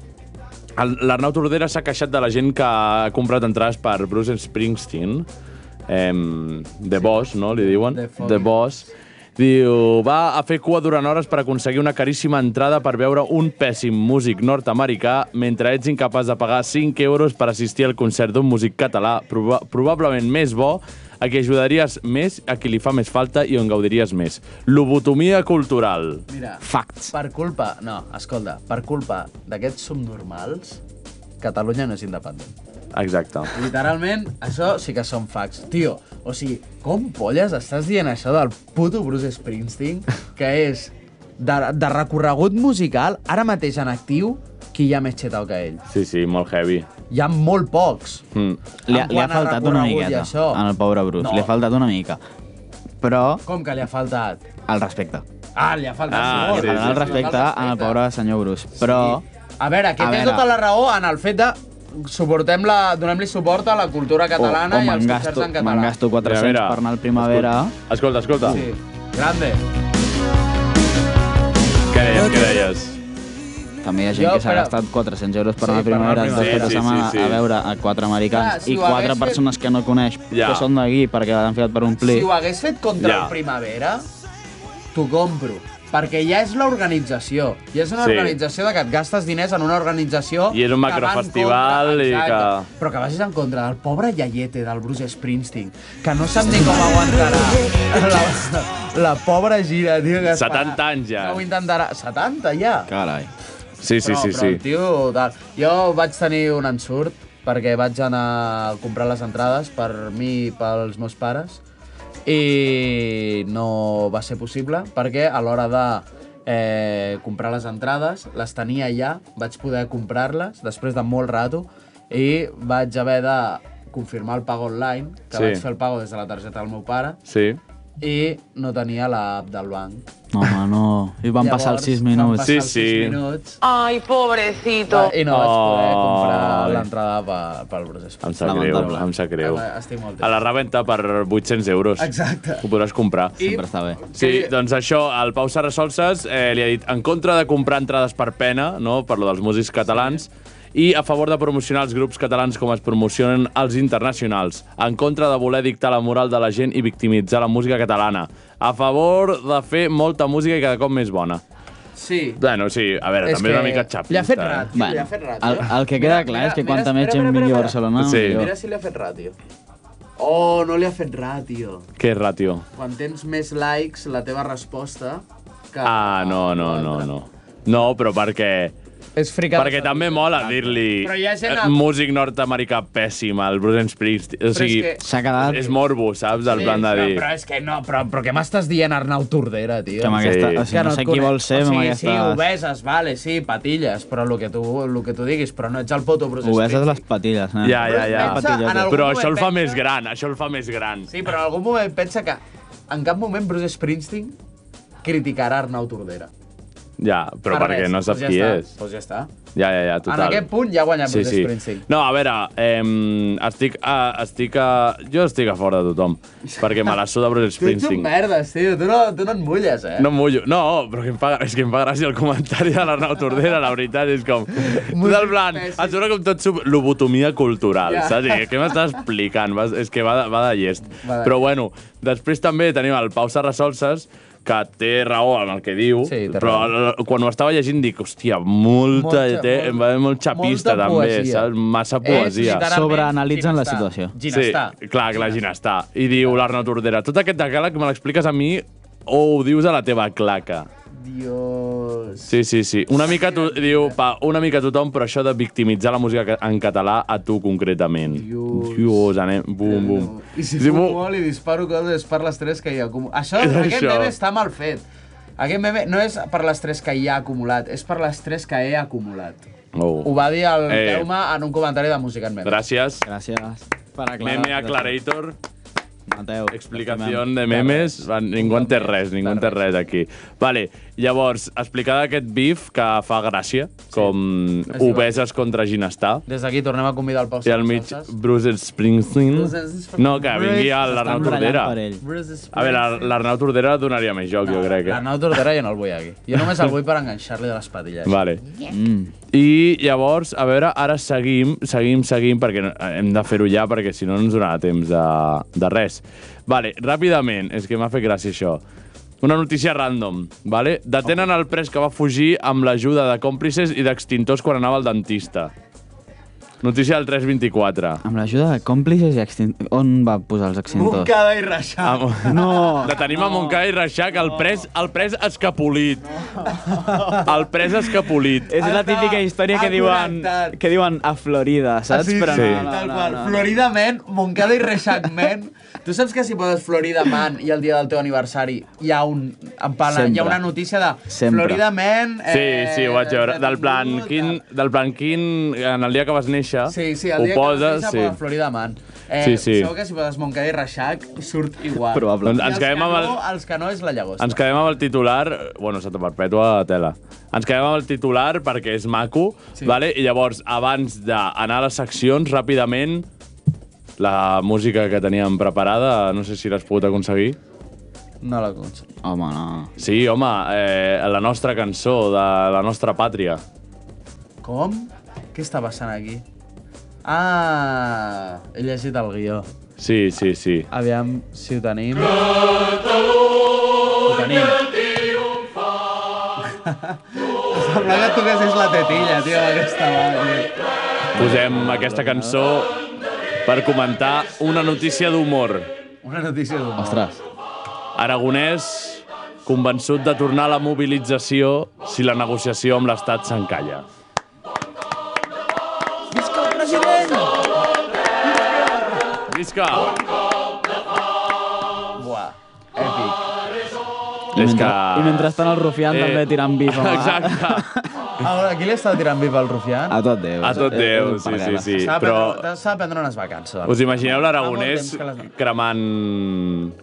el- l'Arnau Tordera s'ha queixat de la gent que ha comprat entrades per Bruce Springsteen, em, The Boss, no? Li diuen?
The Fox.
The Boss. Diu, va a fer cua durant hores per aconseguir una caríssima entrada per veure un pèssim músic nord-americà mentre ets incapaç de pagar 5 euros per assistir al concert d'un músic català proba probablement més bo a qui ajudaries més, a qui li fa més falta i on gaudiries més. Lobotomia cultural.
Mira,
Facts.
per culpa... No, escolta, per culpa d'aquests subnormals, Catalunya no és independent.
Exacte.
Literalment, això sí que són facts. Tio, o sigui, com polles estàs dient això del puto Bruce Springsteen, que és de, de recorregut musical, ara mateix en actiu, qui hi ha més xetau que ell?
Sí, sí, molt heavy.
Hi ha molt pocs.
Mm.
Li, ha-
En
li ha
quant a
faltat una
recorregut i
miqueta
això.
al pobre Bruce.
No.
No. Li ha faltat una mica. Però,
Com que li ha faltat?
al respecte.
Ah, li ha faltat
Ah,
molt.
sí,
Sí,
sí,
al
sí.
respecte al pobre senyor Bruce. Però,
A veure, que
A
té
veure.
tota la raó en el fet de suportem la, donem-li suport a la
Oh,
cultura catalana
o, o
i als
me'n
concerts
gasto,
en
me'n
català.
gasto 400
Mira, mira.
per anar al Primavera.
Escolta, escolta.
Sí. Grande.
Què deies, què deies?
També hi ha gent
Jo,
que s'ha
però-
gastat 400 euros per
Sí,
anar a
per anar a
Primavera sí,
Primavera.
després de
Sí, sí,
setmana
sí, sí.
a veure a quatre americans
Clar, si
i
ho
quatre
hagués fet-
persones que no coneix,
Ja.
que són d'aquí perquè l'han ficat per un pli.
Si ho hagués fet contra
Ja.
el Primavera, t'ho compro. Perquè ja és l'organització. Ja és una
Sí.
organització de que et gastes diners en una organització...
I és un
que va en
macrofestival
contra-
i
Exacte. Però que vagis en contra del pobre iaiete del Bruce Springsteen, que no sap ni com aguantarà la, la pobra gira, tio. Que es
70
farà.
anys ja.
No ho intentarà. 70 ja?
Carai.
Sí, sí,
però,
sí,
però
sí.
el tio... Tal. Jo vaig tenir un ensurt perquè vaig anar a comprar les entrades per mi i pels meus pares i no va ser possible perquè a l'hora de eh, comprar les entrades les tenia ja, vaig poder comprar-les després de molt rato i vaig haver de confirmar el pago online,
Sí.
que sí. vaig fer el pago des de la targeta del meu pare
Sí.
i no tenia l'app del banc.
No, home, no. I van passar els 6
van
minuts.
passar els
Sí,
sis
sí.
minuts
Ay, pobrecito.
Va, I no vaig poder
Ai.
comprar l'entrada pe- pel Bruce
Em
Springsteen.
sap greu,
Lamentable.
em sap greu.
Ah, estic molt
A la reventa per 800 euros.
Exacte.
Ho podràs comprar.
Sempre està bé.
Sí, doncs això, el Pau Sarrasolses eh, li ha dit en contra de comprar entrades per pena, no?, per lo dels músics catalans, i a favor de promocionar els grups catalans com es promocionen els internacionals, en contra de voler dictar la moral de la gent i victimitzar la música catalana, a favor de fer molta música i cada cop més bona.
Sí.
Bueno, sí, a veure,
És
també una
que
mica xapista.
li ha fet
eh?
rat. Li ha fet ràdio.
el, el que queda
Mira,
clar
mira,
és que
mira,
quanta més
espera,
gent
espera,
millor a
espera.
Barcelona,
Sí.
millor.
Mira si li ha fet ràdio. Oh, no li ha fet ràdio.
eh? Què és ràtio?
Quan tens més likes, la teva resposta... Que...
Ah, no, no, no, no. No, però perquè...
És fricat.
Perquè també mola dir-li
Però hi ha gent
eh,
al-
músic nord-americà pèssim, el Bruce Springsteen. O
és
sigui,
que-
S'ha quedat...
és morbo, saps? El plan de
no,
dir...
Però és que no, però, però què m'estàs dient, Arnau Tordera, tio?
Que amb
Sí.
aquesta, o sigui, no
et
sé qui
conec.
vol ser,
o
amb
sigui, sí,
aquestes...
obeses, vale, sí, patilles, però el que tu, el que tu diguis, però no ets el poto Bruce
Obeses
Springsteen.
les patilles, eh? nen.
Ja, ja, ja.
Pensa en algun
Però
moment
això el fa
pensa-
més gran, això el fa més gran.
Sí, però en algun moment pensa que en cap moment Bruce Springsteen criticarà Arnau Tordera.
Ja, però
Per
perquè
res.
no sap
doncs ja
qui
està.
és.
Doncs ja està.
Ja, ja, ja, total.
En aquest punt ja ha guanyat
Sí,
Bruce
sí.
Springsteen.
No, a veure, eh, estic, a, estic a... Jo estic a fora de tothom, perquè me la suda Bruce
Tu ets
Springsteen.
un merdes, tio. Tu no, tu no et mulles, eh?
No em mullo. No, però que em fa, és que em fa gràcia el comentari de l'Arnau Tordera, la veritat, és com... Tot el plan,
pèssim.
et sona com tot sub... lobotomia cultural,
Ja.
yeah. saps? I Què m'estàs explicant? Vas, és que va, de- va de llest.
Va de
Però bueno, després també tenim el Pau Serrasolses, que té raó amb el que diu,
Sí, té
però
raó.
l- quan ho estava llegint dic, hòstia, molta,
Molta-
eh, té, em va haver molt xapista
molta
també,
poesia. Eh?
saps? Massa
És
poesia.
literalment
Sobreanalitzen la
ginestar.
situació.
Ginestar.
Sí, clar, clar, ginestar. I diu l'Arnau Tordera, tot aquest decàleg me l'expliques a mi o ho dius a la teva claca?
Dios.
Sí, sí, sí. Una mica, tu, diu, pa, una mica tothom, però això de victimitzar la música ca- en català a tu concretament.
Dios.
Dios anem, bum, bum.
I si
Sí,
fumo
bum.
molt i disparo coses per les tres que hi ha acumulat. Això,
És
aquest
això.
meme està mal fet. Aquest meme no és per les tres que hi ha acumulat, és per les tres que he acumulat.
Oh.
Ho va dir el
Eh.
eh. Teume en un comentari de música en meme.
Gràcies.
Gràcies per aclarar.
Meme Aclarator,
Mateu.
explicació de memes. Va, Ningú en té res, ningú en té res aquí. Vale, llavors, explicada aquest bif que fa gràcia, com
És
obeses contra ginestar.
Des d'aquí tornem a convidar el Pau
I al mig,
Salsas.
Bruce Springsteen.
Bruce Springsteen.
No, que vingui
Bruce-
l'Arnau Tordera.
Bruce
A veure, l'Arnau Tordera donaria més joc, jo crec. Eh?
L'Arnau Tordera jo no el vull aquí. Jo només el vull per enganxar-li de les patilles.
Vale. Mm. I llavors, a veure, ara seguim, seguim, seguim, perquè no- hem de fer-ho ja, perquè si no no ens donarà temps de, de res. Vale, ràpidament, és que m'ha fet gràcia això. Una notícia random, vale? Detenen el pres que va fugir amb l'ajuda de còmplices i d'extintors quan anava al dentista. Notícia del 324.
Amb l'ajuda de còmplices i extint... On va posar els extintors?
Montcada i Reixac.
Am-
No!
Detenim a Montcada i Reixac el pres, el pres escapolit. El pres escapolit.
És la típica història que
Ha
diuen,
connectat.
que diuen a Florida, saps? Però
sí.
no, no,
Tal
no,
qual.
no.
Florida Man, Montcada i Reixac Man. Tu saps que si poses Florida Man i el dia del teu aniversari hi ha, un, en plan, hi
Sempre.
ha una notícia de
Sempre.
Florida Man... eh,
Sí, sí, ho vaig veure. Del plan,
detingut,
quin,
tal.
del plan quin, en el dia que vas néixer,
Sí, sí, el
ho
dia
poses...
que vas néixer, posa Florida Man. Eh,
Sí, sí.
Segur que si poses Montcada i Reixac surt igual.
Probable.
Doncs
I
ens
els
quedem
que
amb el...
no, els que no és la llagosta.
Ens quedem amb el titular, bueno, Santa Perpètua, tela. Ens quedem amb el titular perquè és maco, sí.
Sí.
vale? i llavors, abans d'anar a les seccions, ràpidament, la música que teníem preparada, no sé si l'has pogut aconseguir.
No la coneixo.
Home, no.
Sí, home, eh, la nostra cançó de la nostra pàtria.
Com? Què està passant aquí? Ah, he llegit el guió.
Sí, sí, sí.
Aviam si ho tenim. Ho tenim. Sembla que toquessis la tetilla, tio, aquesta va, tio.
Posem aquesta cançó per comentar una notícia d'humor.
Una notícia d'un...
Ostres.
Aragonès convençut de tornar a la mobilització si la negociació amb l'Estat s'encalla.
Visca el president!
Visca!
Buah, èpic.
I,
És
mentre,
que... Eh,
I mentrestant el rufián també tirant bif. home.
Exacte.
A veure, aquí li està tirant viva el rufián?
A tot Déu. Eh,
A tot
És- és
Déu,
un
sí, sí,
parguela.
Ah, sí.
S'ha de
Però
prendre- s'ha de prendre unes vacances.
us imagineu l'Aragonès
Fa molt temps que les-
cremant,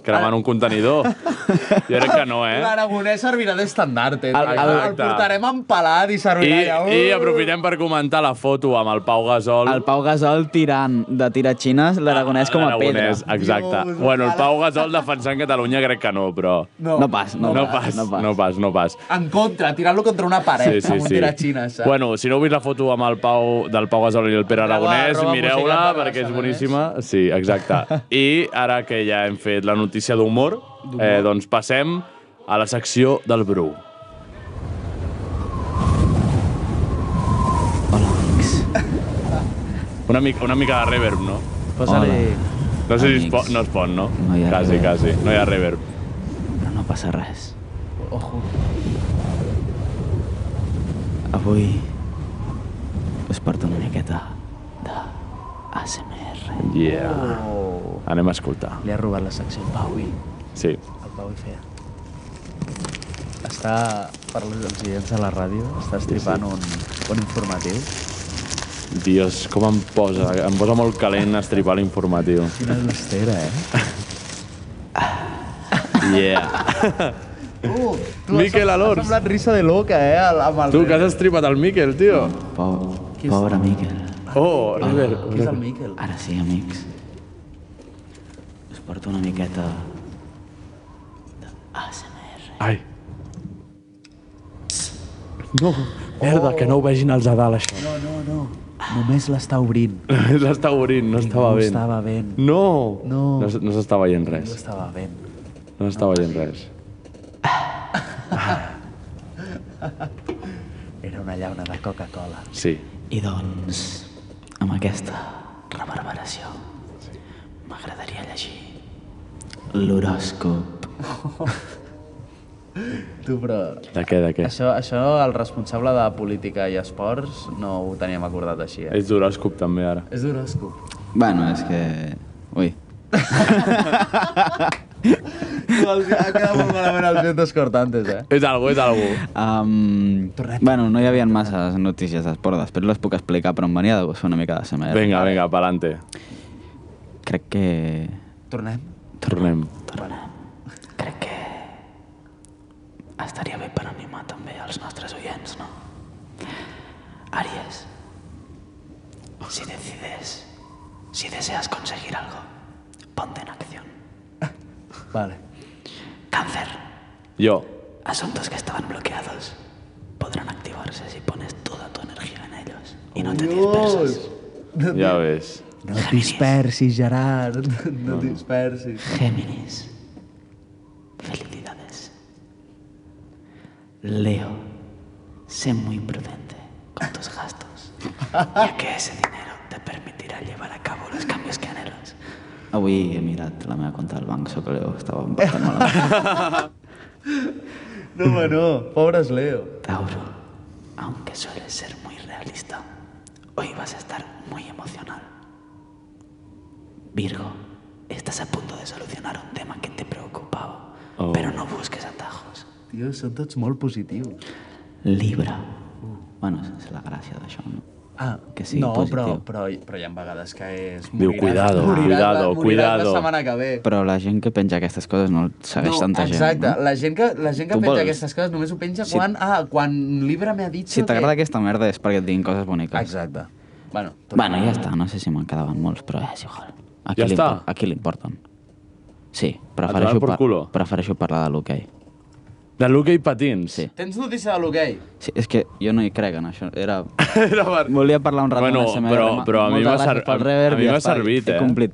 cremant un contenidor? Jo crec que no, eh?
L'Aragonès servirà d'estandarte. El, el, el
Exacte.
portarem empalat i
I,
servirà ja.
I aprofitem per comentar la foto amb el Pau Gasol.
El Pau Gasol tirant de tiratxines, l'Aragonès com a pedra.
L'Aragonès, Exacte.
Dios,
bueno, el
ojalá.
Pau Gasol defensant Catalunya crec que no, però...
No.
No pas, no,
No pas,
no pas.
no pas, no pas.
En contra, tirant-lo contra una paret
Sí, sí,
amb un
sí.
tiratxina, saps?
Bueno, si no heu vist la foto amb el Pau, del Pau Gasol i el Pere
Arroba-
Aragonès,
arroba
mireu-la
musicat per
perquè és
Aragonès.
boníssima. Sí, exacte. I ara que ja hem fet la notícia d'humor, eh, doncs passem a la secció del Bru. Una mica, una mica de reverb, no?
Posa-li-
No sé si es, po
Amics.
no es pot, no?
No hi ha
quasi,
reverb.
quasi. No hi ha reverb.
Però no passa res. Ojo. Avui us porto una miqueta de ASMR.
Yeah. Oh. Anem a escoltar.
Li ha robat la secció al Pau i
Sí.
el Pau i feia. Està, per les incidents de la ràdio, està estripant Un, un informatiu.
Dios, com em posa, em posa molt calent estripar l'informatiu.
Quina llustera, eh?
Yeah.
Uh, tu,
Miquel
ha-
Alors.
Ha semblat risa de loca, eh, al- amb el...
Tu, que has estripat el Miquel, tio.
Pobre, pobre Miquel.
Oh, River.
Qui és el Miquel?
Ara sí, amics. Us porto una miqueta...
Ai. No, merda, que no ho vegin els de dalt, això.
No, no, no. Només l'està obrint.
L'està obrint, no estava
no
bé.
estava ben.
No!
No.
No, s- no s'està veient
No
res.
estava ben.
No s'està veient res.
Era una llauna de Coca-Cola.
Sí.
I doncs, amb aquesta reverberació, m'agradaria llegir l'horòscop.
Tu, però...
De què, de què?
Això, això, el responsable de política i esports, no ho teníem acordat així, eh?
És d'horòscop, també, ara.
És d'horòscop.
Bueno, és que... Ui,
Ha quedat molt malament els dientes cortantes, eh?
És algo, és algo.
Um, bueno, no hi havia masses notícies d'esport, després les puc explicar, però em venia de fer una mica de semer.
Vinga, vinga, pa'lante.
Crec que...
Tornem?
Tornem.
Crec que... Estaria bé per animar també els nostres oients, no? Aries, si decides, si deseas conseguir algo, ponte en acción.
Vale.
Cáncer,
Jo.
asuntos que estaban bloqueados podrán activarse si pones toda tu energía en ellos y no te dispersas.
Ja ves.
No et dispersis, Gerard. No et dispersis.
Géminis. Felicidades. Leo, sé muy prudente con tus gastos, ya que ese dinero te permitirá llevar a cabo los cambios que anhelas. Avui he mirat la meva compte al banc, sóc Leo, estava bastant malament.
No, home, no. Pobres Leo.
Tauro, aunque sueles ser muy realista, hoy vas a estar muy emocional. Virgo, estás a punto de solucionar un tema que te preocupaba, pero no busques atajos.
Tio, són tots molt positius.
Libra. Bueno, és la gràcia d'això, no?
Ah,
Que sigui
no,
positiu.
però, però, però hi ha vegades que és...
Diu,
moriràs-
cuidado,
moriràs la-
cuidado,
moriràs
cuidado.
la setmana que ve.
Però la gent que penja aquestes coses no el segueix tanta
exacte.
gent, no?
La gent que, la gent que
Tu
penja
vols?
aquestes coses només ho penja
Si-
quan... Ah, quan Libra m'ha dit...
Si t'agrada aquesta merda és perquè et diguin coses boniques.
Exacte. Bueno, tot...
Bueno, ja està, no sé si me'n quedaven molts, però és igual.
Ja
A qui li
està?
impo- A qui li importen? Sí,
donar
prefereixo,
por culo.
prefereixo parlar de l'hoquei.
De l'hoquei patins.
Sí.
Tens notícia de l'hoquei?
Sí, és que jo no hi crec en això. Era...
Era per...
Volia parlar un rato
Bueno,
amb SMR.
però-
Ma-
però a mi
moltes
m'ha
gràcies
ser-
pel
a-
reverb
a mi
i ja
m'ha
està,
servit,
he
eh?
complit.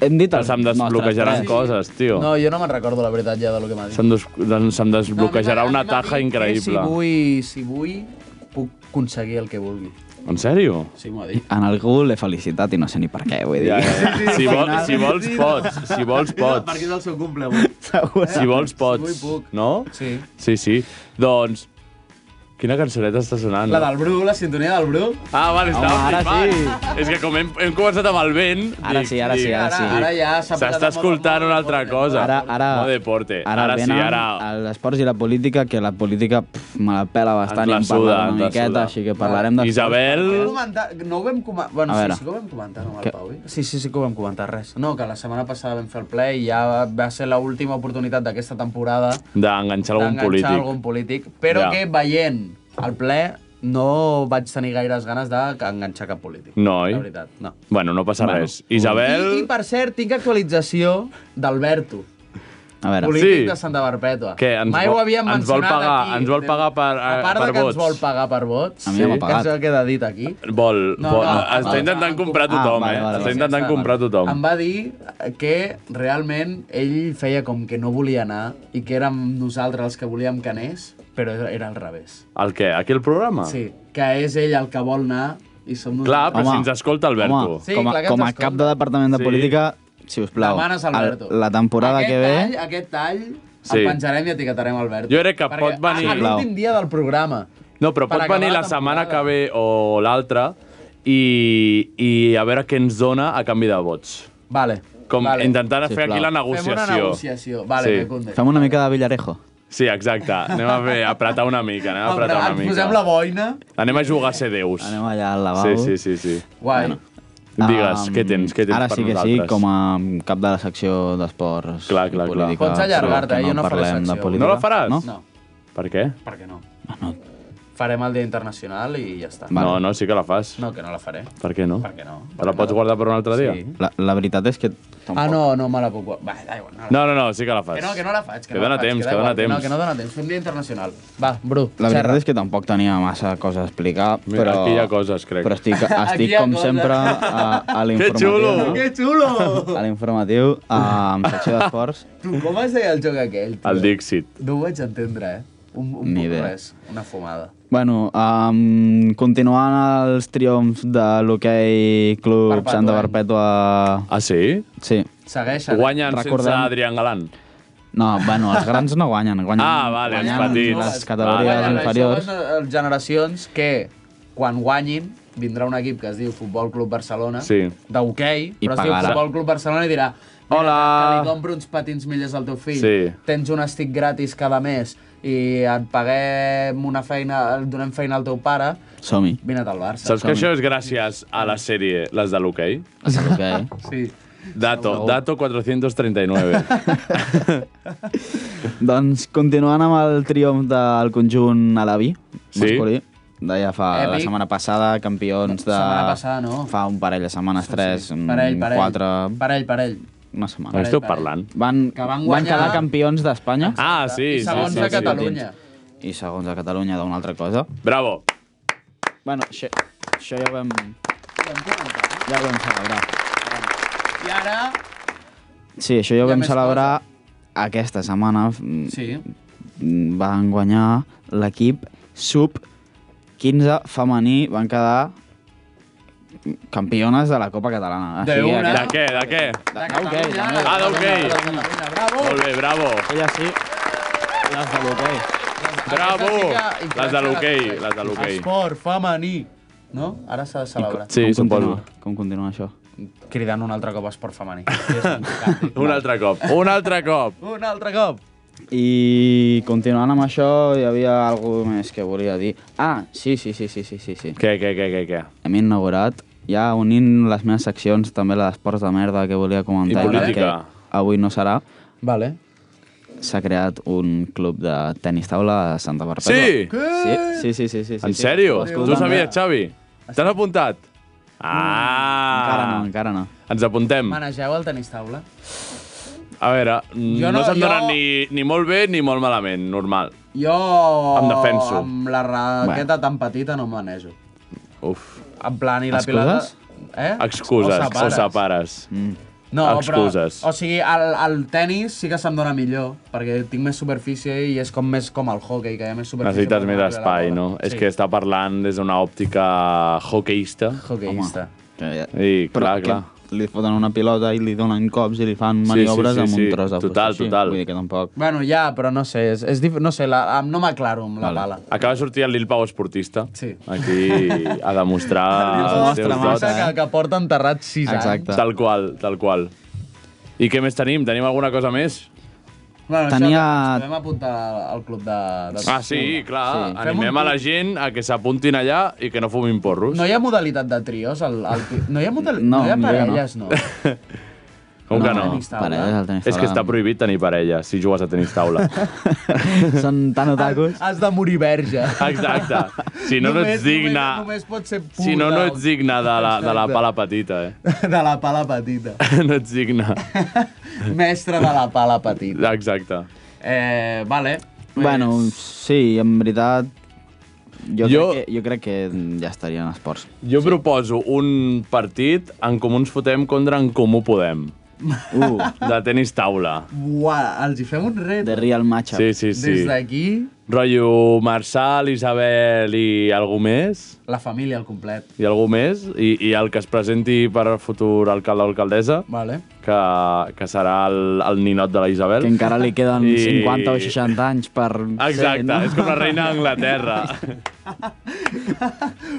Hem dit els
Se'm desbloquejaran
nostres tres.
coses, tio.
No, jo no me'n recordo la veritat ja de lo que m'ha dit.
Se'm, des... doncs se'm desbloquejarà
No, a mi
una
m'ha- a mi m'ha
taja
dit que
increïble.
Si vull, si vull, puc aconseguir el que vulgui.
En sèrio?
Sí, m'ho ha dit.
En algú l'he felicitat i no sé ni per què, vull dir.
Ja, ja. Si, vol, si vols,
Sí, no.
pots. Si vols,
Perquè
pots.
és el seu cumple, avui.
Si vols,
vull,
pots.
puc.
No?
Sí.
Sí, sí. Doncs... Quina cançoneta està sonant?
La del Bru, la sintonia del Bru.
Ah, vale, estava
Home, ara
flipant. És que com hem, hem començat amb el vent...
Ara sí, ara sí, ara sí.
Ara ja s'ha posat de
S'està
moda
escoltant
molt
una
de
altra
deporte.
cosa.
Ara, ara,
Molt deporte.
Ara,
Ara, sí,
venen
ara...
L'esports i la política, que la política pff, me la pela bastant i
la
en
suda, ens
parlarem una
la suda.
miqueta, així que parlarem de...
Isabel...
Vam comentar- No ho vam comentar... Bueno,
A
sí,
veure.
sí que ho vam comentar, no, amb
Que-
el Pau? eh? Sí, sí, sí que ho vam comentar, res. No, que la setmana passada vam fer el play i ja va ser l'última oportunitat d'aquesta temporada
D'enganxar algun
d'enganxar
polític.
algun polític, però
Ja.
que veient el ple no vaig tenir gaires ganes d'enganxar cap polític.
No, oi?
La veritat, no.
Bueno, no passa res. Isabel...
I, I, per cert, tinc actualització d'Alberto,
A veure,
Poli-
polític
Sí.
de Santa Perpètua.
Què, ens
Mai
vol-
ho havíem
ens vol
mencionat
pagar-
aquí. eh?
ens vol pagar per- eh,
A part
per
de que
vots.
ens vol pagar per vots,
A mi ja m'ha
que
pagat.
això queda dit aquí.
Vol,
No,
vol,
no,
està
vale.
intentant comprar
Ah,
tothom,
vale,
eh?
vale,
està
vale.
intentant comprar tothom.
Em va dir que realment ell feia com que no volia anar i que érem nosaltres els que volíem que anés, però era al revés.
El què? Aquí el programa?
Sí, que és ell el que vol anar i som
Ah. Clar,
nosaltres.
però si ens escolta Alberto.
home,
Sí,
com a,
clar que
com a
ens
cap
escolta.
de departament de
Sí.
política, si us plau,
Demanes
el-
Alberto.
la temporada
aquest
que ve...
Tall, aquest tall
Sí.
el penjarem i etiquetarem Alberto.
Jo crec que pot
a-
venir-
a L'últim dia del programa.
No, però
Per
pot
acabar
venir
la
la setmana que
temporada.
ve o l'altra i, i a veure què ens dona a canvi de vots.
Vale.
Com
vale.
intentant fer
Sisplau.
aquí la
Fem una
negociació.
negociació. Vale,
Sí.
sí. me conde.
Fem una mica de Villarejo.
Sí, exacte. Anem a fer, a apretar una mica, anem a
Em-
apretar una
Ens posem la
mica.
boina.
Anem a jugar a ser déus.
Anem allà al lavabo.
Sí, sí, sí, sí.
Guai. Bueno.
Digues,
Em,
què tens? Què tens
Ara
per
sí que
nosaltres?
sí, com a cap de la secció d'esports
Clar, clar, clar.
i política.
Pots allargar-te, eh?
segur que
Jo no faré
parlem de
secció.
política.
No la faràs?
No?
No,
Per què?
per què no? Farem el Dia Internacional i ja està.
Vale.
No, no, sí que la fas.
No, que no la faré.
Per què no?
Per què no?
Te la pots guardar per un altre dia?
Sí.
La, la veritat és que...
Ah, no, no me la puc... guardar. Va, da igual. No, la-
No, no, no, sí que la fas.
Que no, que no la faig. Que,
Que
no la
dona
faig,
temps,
da
que dona
igual, No,
temps.
que no dona temps. Fem Dia Internacional. Va, Bru,
La
xerra.
veritat és que tampoc tenia massa coses a explicar,
Mira,
però...
aquí hi ha coses, crec.
Però estic,
Aquí
estic
hi ha
com
coses.
sempre a, a l'informatiu.
xulo!
no?
Que xulo!
A l'informatiu, a, amb secció d'esports.
tu, com es deia el joc aquell? tio?
El Dixit.
No ho vaig entendre, eh? Un, un
Ni
poc
idea.
res. Una fumada.
Bueno, um, continuant els triomfs de l'hoquei Club
Perpètua.
Santa Perpètua...
Ah, sí?
Sí.
Segueixen. eh?
Guanyen sense
Recordem-
Adrián Galán.
No, bueno, els grans no guanyen. guanyen
Ah, vale, els
guanyen
petits.
Les categories
Vale.
Guanyen
inferiors.
Les joves eh, generacions que, quan guanyin, vindrà un equip que es diu Futbol Club Barcelona,
Sí.
d'hoquei,
I
però es diu
pagarà.
Futbol Club Barcelona i dirà
Hola.
que li compro uns patins millors al teu fill,
Sí.
tens un estic gratis cada mes i et paguem una feina, donem feina al teu pare,
Som-hi.
vine't al Barça.
Saps que això és gràcies a la sèrie Les de l'hoquei?
És l'hoquei.
Sí.
Dato, dato 439.
doncs continuant amb el triomf del conjunt alaví,
Sí.
masculí, d'allà fa la
Èpic.
setmana passada, campions de...
Setmana passada, no.
Fa un parell de setmanes, tres, mm,
Parell, parell.
quatre...
Parell, parell.
Una
Què
setmana.
esteu parlant?
Van,
Que van
van
guanyar-
quedar campions d'Espanya
Ah, sí,
I
sí,
segons
sí,
de
sí.
Catalunya.
i segons de Catalunya d'una altra cosa.
Bravo.
Bueno, això, això ja ho vam... Ja ho vam celebrar.
I ara...
Sí, això ja ho
Hi ha
vam
més
celebrar aquesta setmana. mm,
Sí.
mm, Van guanyar l'equip sub 15 femení, van quedar campiones de la Copa Catalana.
De una.
De
aquella-
què, de què?
De
d'hoquei,
Catalunya,
també.
Ah, d'hoquei.
de Catalunya, Bravo.
Molt bé, bravo.
Ella sí, les de l'hoquei.
Bravo.
Aquesta sí que
Les de l'hoquei, les de l'hoquei.
Esport femení. No? Ara s'ha de celebrar.
Sí,
Com continua-
suposo.
Com continua això?
Cridant un altre cop esport femení. És un càntic.
Un altre cop, un altre cop.
un altre cop.
I continuant amb això, hi havia algú més que volia dir. Ah, sí, sí, sí, sí, sí, sí. sí.
Què, què, què, què, què?
Hem inaugurat, ja unint les meves seccions, també la d'esports de merda que volia comentar.
I política.
perquè Avui no serà.
Vale.
s'ha creat un club de tennis taula a Santa Barbara.
Sí?
Sí, sí, sí, sí, sí, sí
En
sí.
sèrio? Tu
Escolta'm,
ho sabies, Xavi? T'has apuntat?
Encara no,
Ah!
encara no.
Ens apuntem.
Manegeu el tenis taula?
A veure,
Jo
no,
no-
no se'm
jo-
dona ni, ni molt bé ni molt malament, normal.
Jo...
Em defenso.
Amb la raqueta tan petita no em manejo.
Uf.
En plan, i la
Excuses?
pilota... Eh?
Excuses,
O
o
separes.
separes. Mm.
No,
Excuses.
Però, o sigui, el, el tennis sí que se'm dona millor, perquè tinc més superfície i és com més com el hockey, que hi ha més superfície.
Necessites
per
més
moure la
espai,
bola.
no?
Sí.
És que està parlant des d'una òptica hoqueista.
Hockeyista.
Ja, ja.
I, clar,
Però
clar.
Que li foten una pilota i li donen cops i li fan
sí,
maniobres
sí,
amb un
sí.
tros de fusta.
Total,
així.
total.
Vull dir que tampoc...
Bueno, ja, però no sé, és, és dif... no sé, la, am- no m'aclaro amb la pala.
Acaba de sortir el Lil Pau esportista.
Sí.
Aquí a demostrar
Pau
els seus
Mostra
dots.
massa,
que, que porta enterrat 6 anys.
eh? Exacte.
Tal qual, tal qual. I què més tenim? Tenim alguna cosa més?
Bueno,
Tenia-
això, ens podem apuntar al club de... de...
Ah, sí, clar.
Sí.
Sí. Animem a la gent a que s'apuntin allà i que no fumin porros.
No hi ha modalitat de trios? Al, al... ti- No hi ha, modal... no
No,
hi ha
millor que no.
parelles, no.
Com que no?
tenis taula.
Parelles al tenis
És que està prohibit tenir parella si jugues a tenis taula.
prohibit. Són tan otakus.
Has de morir verge.
Exacte. Si no, no ets digna...
Només, només pots ser pura.
Si no, no ets digna de la, de la
Exacte.
pala petita, eh?
De la pala petita.
No ets digna.
Mestre de la pala petita.
Exacte.
Eh, vale. Pues,
Bueno, sí, en veritat... Jo,
Jo-
Crec que, jo crec que ja estarien esports.
Jo proposo un partit en com ens fotem contra en Comú Podem.
Uh,
De tenis taula.
Uah, els hi fem un
The
ret.
Real Matchup.
Sí, sí, sí.
Des d'aquí,
Rotllo Marçal, Isabel i algú més.
la família al complet.
I algú més. I, i el que es presenti per futur alcalde o alcaldessa,
Vale.
que, que serà el, el ninot de la Isabel.
Que encara li queden
I-
50 o 60 anys per...
Exacte,
ser, no?
és com la reina d'Anglaterra.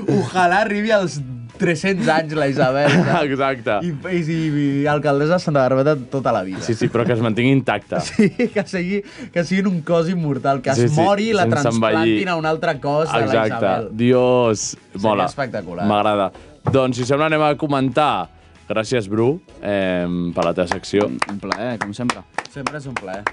Ojalà arribi als 300 anys la Isabel. saps?
Exacte.
I, i, i, i alcaldessa de Santa Barbeta tota la vida.
Sí, sí, però que es mantingui intacte.
Sí, que, sigui, que siguin un cos immortal, que
Sí,
es
sí,
mori i la
sense
transplantin
envellir.
a un altre cos de la
Exacte.
Isabel.
Dios, mola.
espectacular.
M'agrada. Doncs, si sembla, anem a comentar. Gràcies, Bru, eh, per la teva secció.
Un plaer, eh, com sempre.
Sempre és un plaer.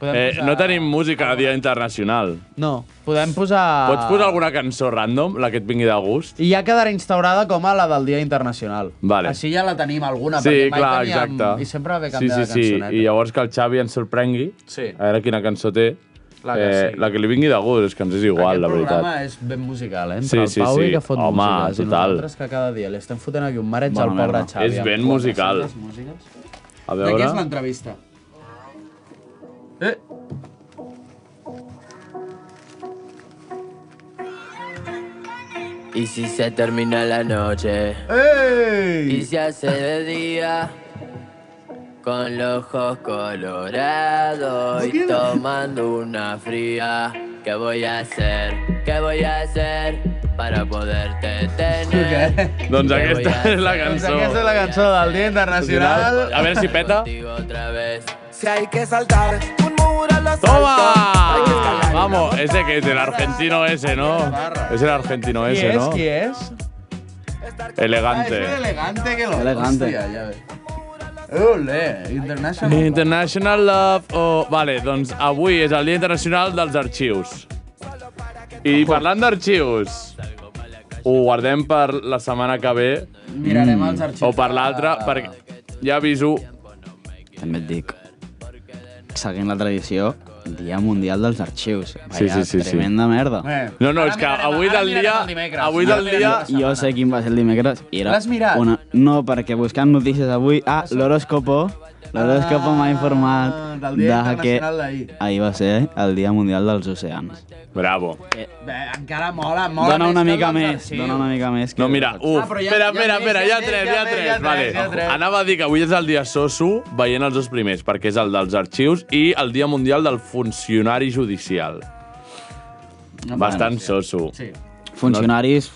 Podem
Eh, no tenim música a Dia Internacional.
No, podem posar...
Pots posar alguna cançó random, la que et vingui de gust?
I ja quedarà instaurada com a la del Dia Internacional.
Vale.
Així ja la tenim alguna,
Sí,
Ah, perquè mai
clar,
teníem...
exacte.
I sempre ve
sí,
canviar
sí,
de
sí.
cançoneta.
I llavors que el Xavi ens sorprengui,
Sí.
a veure quina cançó té, Eh,
La que sigui.
la que li vingui de gust, és que ens és igual,
Aquest
la veritat.
programa és ben musical, eh?
Sí,
Entre
sí,
el Pau
sí.
i que fot
Home,
músiques. I
total.
nosaltres que cada dia li estem fotent aquí un mareig
Bona
al pobre
merda.
Xavi.
És
amb
ben
quatre
musical.
santes músiques.
A
De què
veure...
és l'entrevista? Eh?
Y si se termina la noche y
Ei!
se hace de día con los ojos colorados y tomando una fría, ¿qué voy a hacer? ¿Qué voy a hacer para poderte tener?
Doncs
¿Qué voy
aquesta
a
és la
hacer
Doncs
cançó.
aquesta és la cançó del Dia Internacional.
A veure si peta.
contigo otra vez?
Si hay que saltar un muro, lo
¡Toma! Vamos, ese que es del argentino ese, ¿no? Es el argentino
Qui
ese,
és?
¿no?
Qui és? Ah, és un
Elegante.
elegante que lo...
Elegante.
Hòstia, ja ve. Ole, International.
International Love... Oh, vale, doncs avui és el Dia Internacional dels Arxius. I parlant d'arxius, ho guardem per la setmana que ve
Mirarem els arxius.
o per l'altra, perquè ja aviso...
També et dic, seguint la tradició, Dia Mundial dels Arxius.
Sí, sí, sí, sí.
Tremenda merda.
Eh.
No, no,
Ara
és que
mirarem-
avui
ara
del
mirarem
dia...
el dimecres.
Avui
Ara
del
mirarem
dia...
la setmana.
Jo sé quin va ser el dimecres i era...
L'has mirat?
Una... No, perquè buscant notícies avui... Ah, l'horòscopo. L'horòscopo m'ha informat
Ah, del Dia
de que
Internacional d'ahir.
ahir va ser el Dia Mundial dels Oceans.
Bravo.
Bé, encara mola, mola
Dona una
més que
mica
el dels
més,
arxius.
dona una mica més.
No, mira,
un...
uf,
però ja-
espera, espera,
ja tres,
espera,
ja
Ah, ja
tres,
tres, ja
ja tres,
tres,
ja
vale.
tres, ja tres.
Anava a dir que avui és el dia soso veient els dos primers, perquè és el dels arxius i el Dia Mundial del Funcionari Judicial.
No,
Bastant
bueno,
soso.
Sí.
Funcionaris...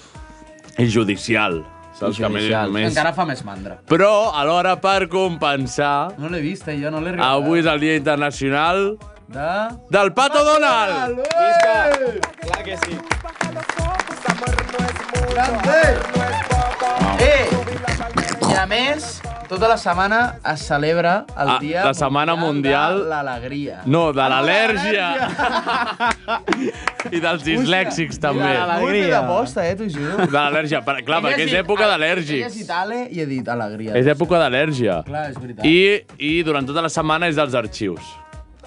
I judicial. Saps
I
que més,
judicial.
més...
Encara fa més mandra.
Però, alhora, per compensar,
No l'he vist, eh, jo
Ah,
no l'he arribat.
avui és el Dia Internacional
De...
del Pato Donald!
Visca!
Clar que sí.
Eh! I a més, tota la setmana es celebra el
Ah,
dia
la Setmana Mundial
de l'Alegria.
No, de l'al·lèrgia! I dels dislèxics, també.
De l'Alegria.
Alegria.
de posta, eh, t'ho juro. ah,
De l'al·lèrgia, per- clar, perquè és època
He
d'al·lèrgics.
llegit Ale i he dit Alegria.
És època d'al·lèrgia.
Clar, és veritat.
I, I durant tota la setmana és dels arxius.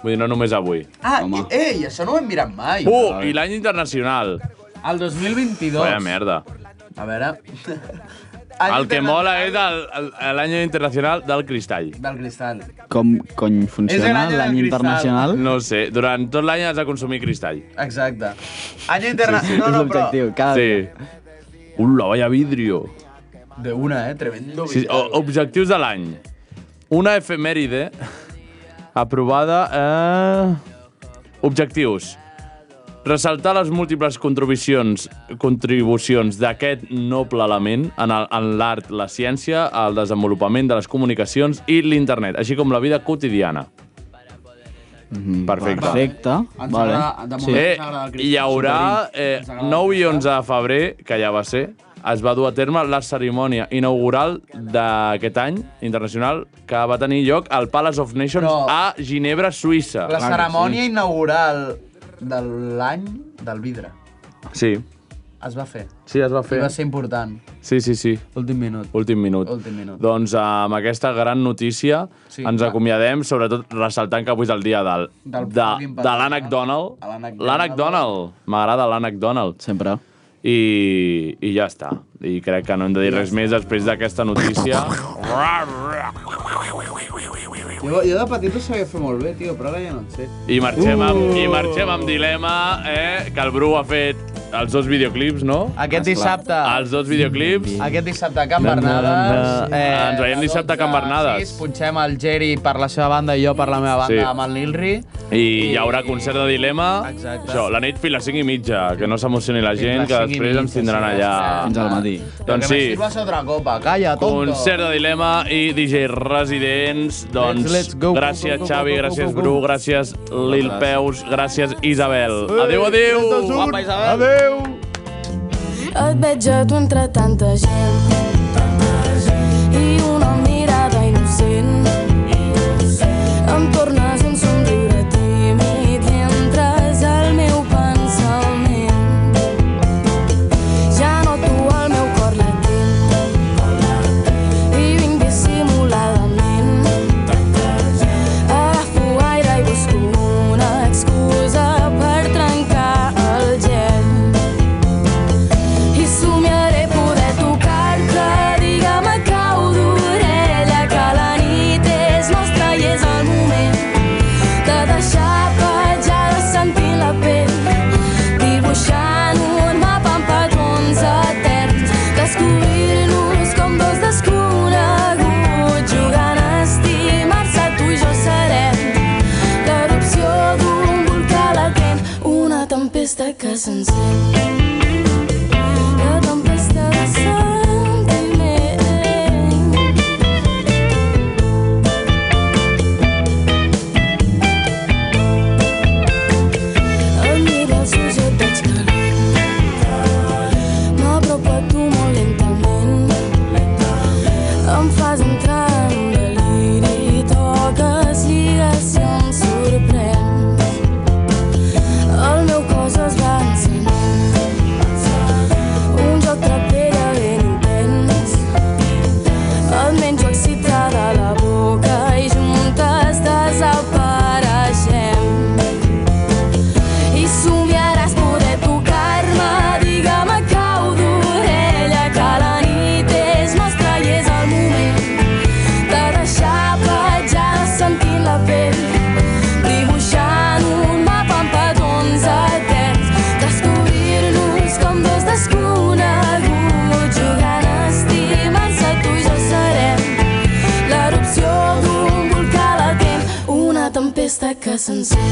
Vull dir, no només avui.
Ah,
Home.
i, ei, això no ho hem mirat mai.
Uh, i l'any internacional.
El 2022.
Vaya merda.
A veure...
El que mola és el- el- l'any internacional del cristall.
Del cristall.
Com cony
És l'any
funciona
del
l'any
cristal.
internacional?
No ho sé, durant tot l'any has de consumir cristall.
Exacte. Any internacional,
és
no, no, però...
l'objectiu, cada dia.
Sí. Ula, vaya vidrio.
De una, eh? Tremendo.
Sí, o- objectius de l'any. Una efemèride aprovada... Eh... Objectius. Ressaltar les múltiples contribucions, contribucions d'aquest noble element en el- en l'art, la ciència, el desenvolupament de les comunicacions i l'internet, així com la vida quotidiana. Perfecte.
Perfecte.
Ens
Vale.
agrada- de moment-
Sí.
Eh,
Ens agrada el
hi
Cristall,
haurà
superint.
eh,
Ens agrada el
9 i 11 de febrer, que ja va ser, es va dur a terme la cerimònia inaugural d'aquest any internacional que va tenir lloc al Palace of Nations
Però-
a Ginebra, Suïssa. Ah,
La
que
cerimònia inaugural de l'any del vidre
Sí,
es va fer.
sí, es va
I
fer.
va ser important.
Sí, sí, sí.
Últim minut.
Últim minut.
Últim minut.
Doncs eh, amb aquesta gran notícia
Sí,
ens
clar.
acomiadem, sobretot ressaltant que avui és el dia del,
Del
de,
fucking
de l'Ànec
Patriarca.
Donald.
A l'Ànec
L'Ànec Donald. M'agrada l'Ànec Donald.
Sempre.
I, I ja està. I crec que no hem de dir res més després d'aquesta notícia.
Jo, jo de petit ho sabia fer molt bé, tio, però ara ja no en sé.
I marxem
Uh.
amb, i marxem amb dilema, eh, que el Bru ha fet els dos videoclips, no?
Aquest dissabte...
Els dos videoclips.
Aquest dissabte a Can Bernades. eh,
na. Ens veiem dissabte a Can Bernades.
Sí, punxem el Geri per la seva banda i jo per la meva banda
Sí.
amb el Nilri.
I hi haurà concert de dilema.
Exacte.
Això, la nit fins les 5 i mitja, que no s'emocioni la gent, que després ens tindran allà.
Fins al matí.
Doncs sí,
eh, Però que me sirvas otra copa, calla, tonto.
concert de dilema i DJ Residents. Doncs
let's go, go,
gràcies
go, go,
Xavi,
go, go,
gràcies
go, go.
Bru, gràcies Lil Peus, gràcies Isabel. Adéu, adéu!
Guapa, Isabel. Adéu.
Et veig a tu entre tanta gent. I una mirada innocent. Em tornes un somriure tímid i entres al meu pensament. Ja noto al meu cor latent i vinc dissimuladament. Agafo aire i busco una excusa per trencar el gel. I somiaré poder tocar-te, digue'm a cau d'orella que la nit és nostra i és el moment de deixar petjada sentint la pell, dibuixant un mapa amb patrons eterns, descobrint-nos com dos desconeguts, jugant a estimar-se tu i jo serem l'erupció d'un volcà latent, una tempesta que s'encén. La tempesta de sentiment. Em mira els ulls i et veig calent. M'apropo a tu molt lentament. Em fas entrar en un deliri, toques lligacions, sorprens. El meu cos es va encenent. Un joc trapera ben intens. Et menjo excitada a la boca i juntes desapareixem. I somiaràs poder tocar-me, digue'm a cau d'orella que la nit és nostra i és el moment de deixar petjada sentint la pell, dibuixant un mapa amb petons eterns, descobrir-nos com dos desconeguts, jugant a estimar-se tu i jo serem l'erupció d'un volcà latent, una tempesta que s'encén.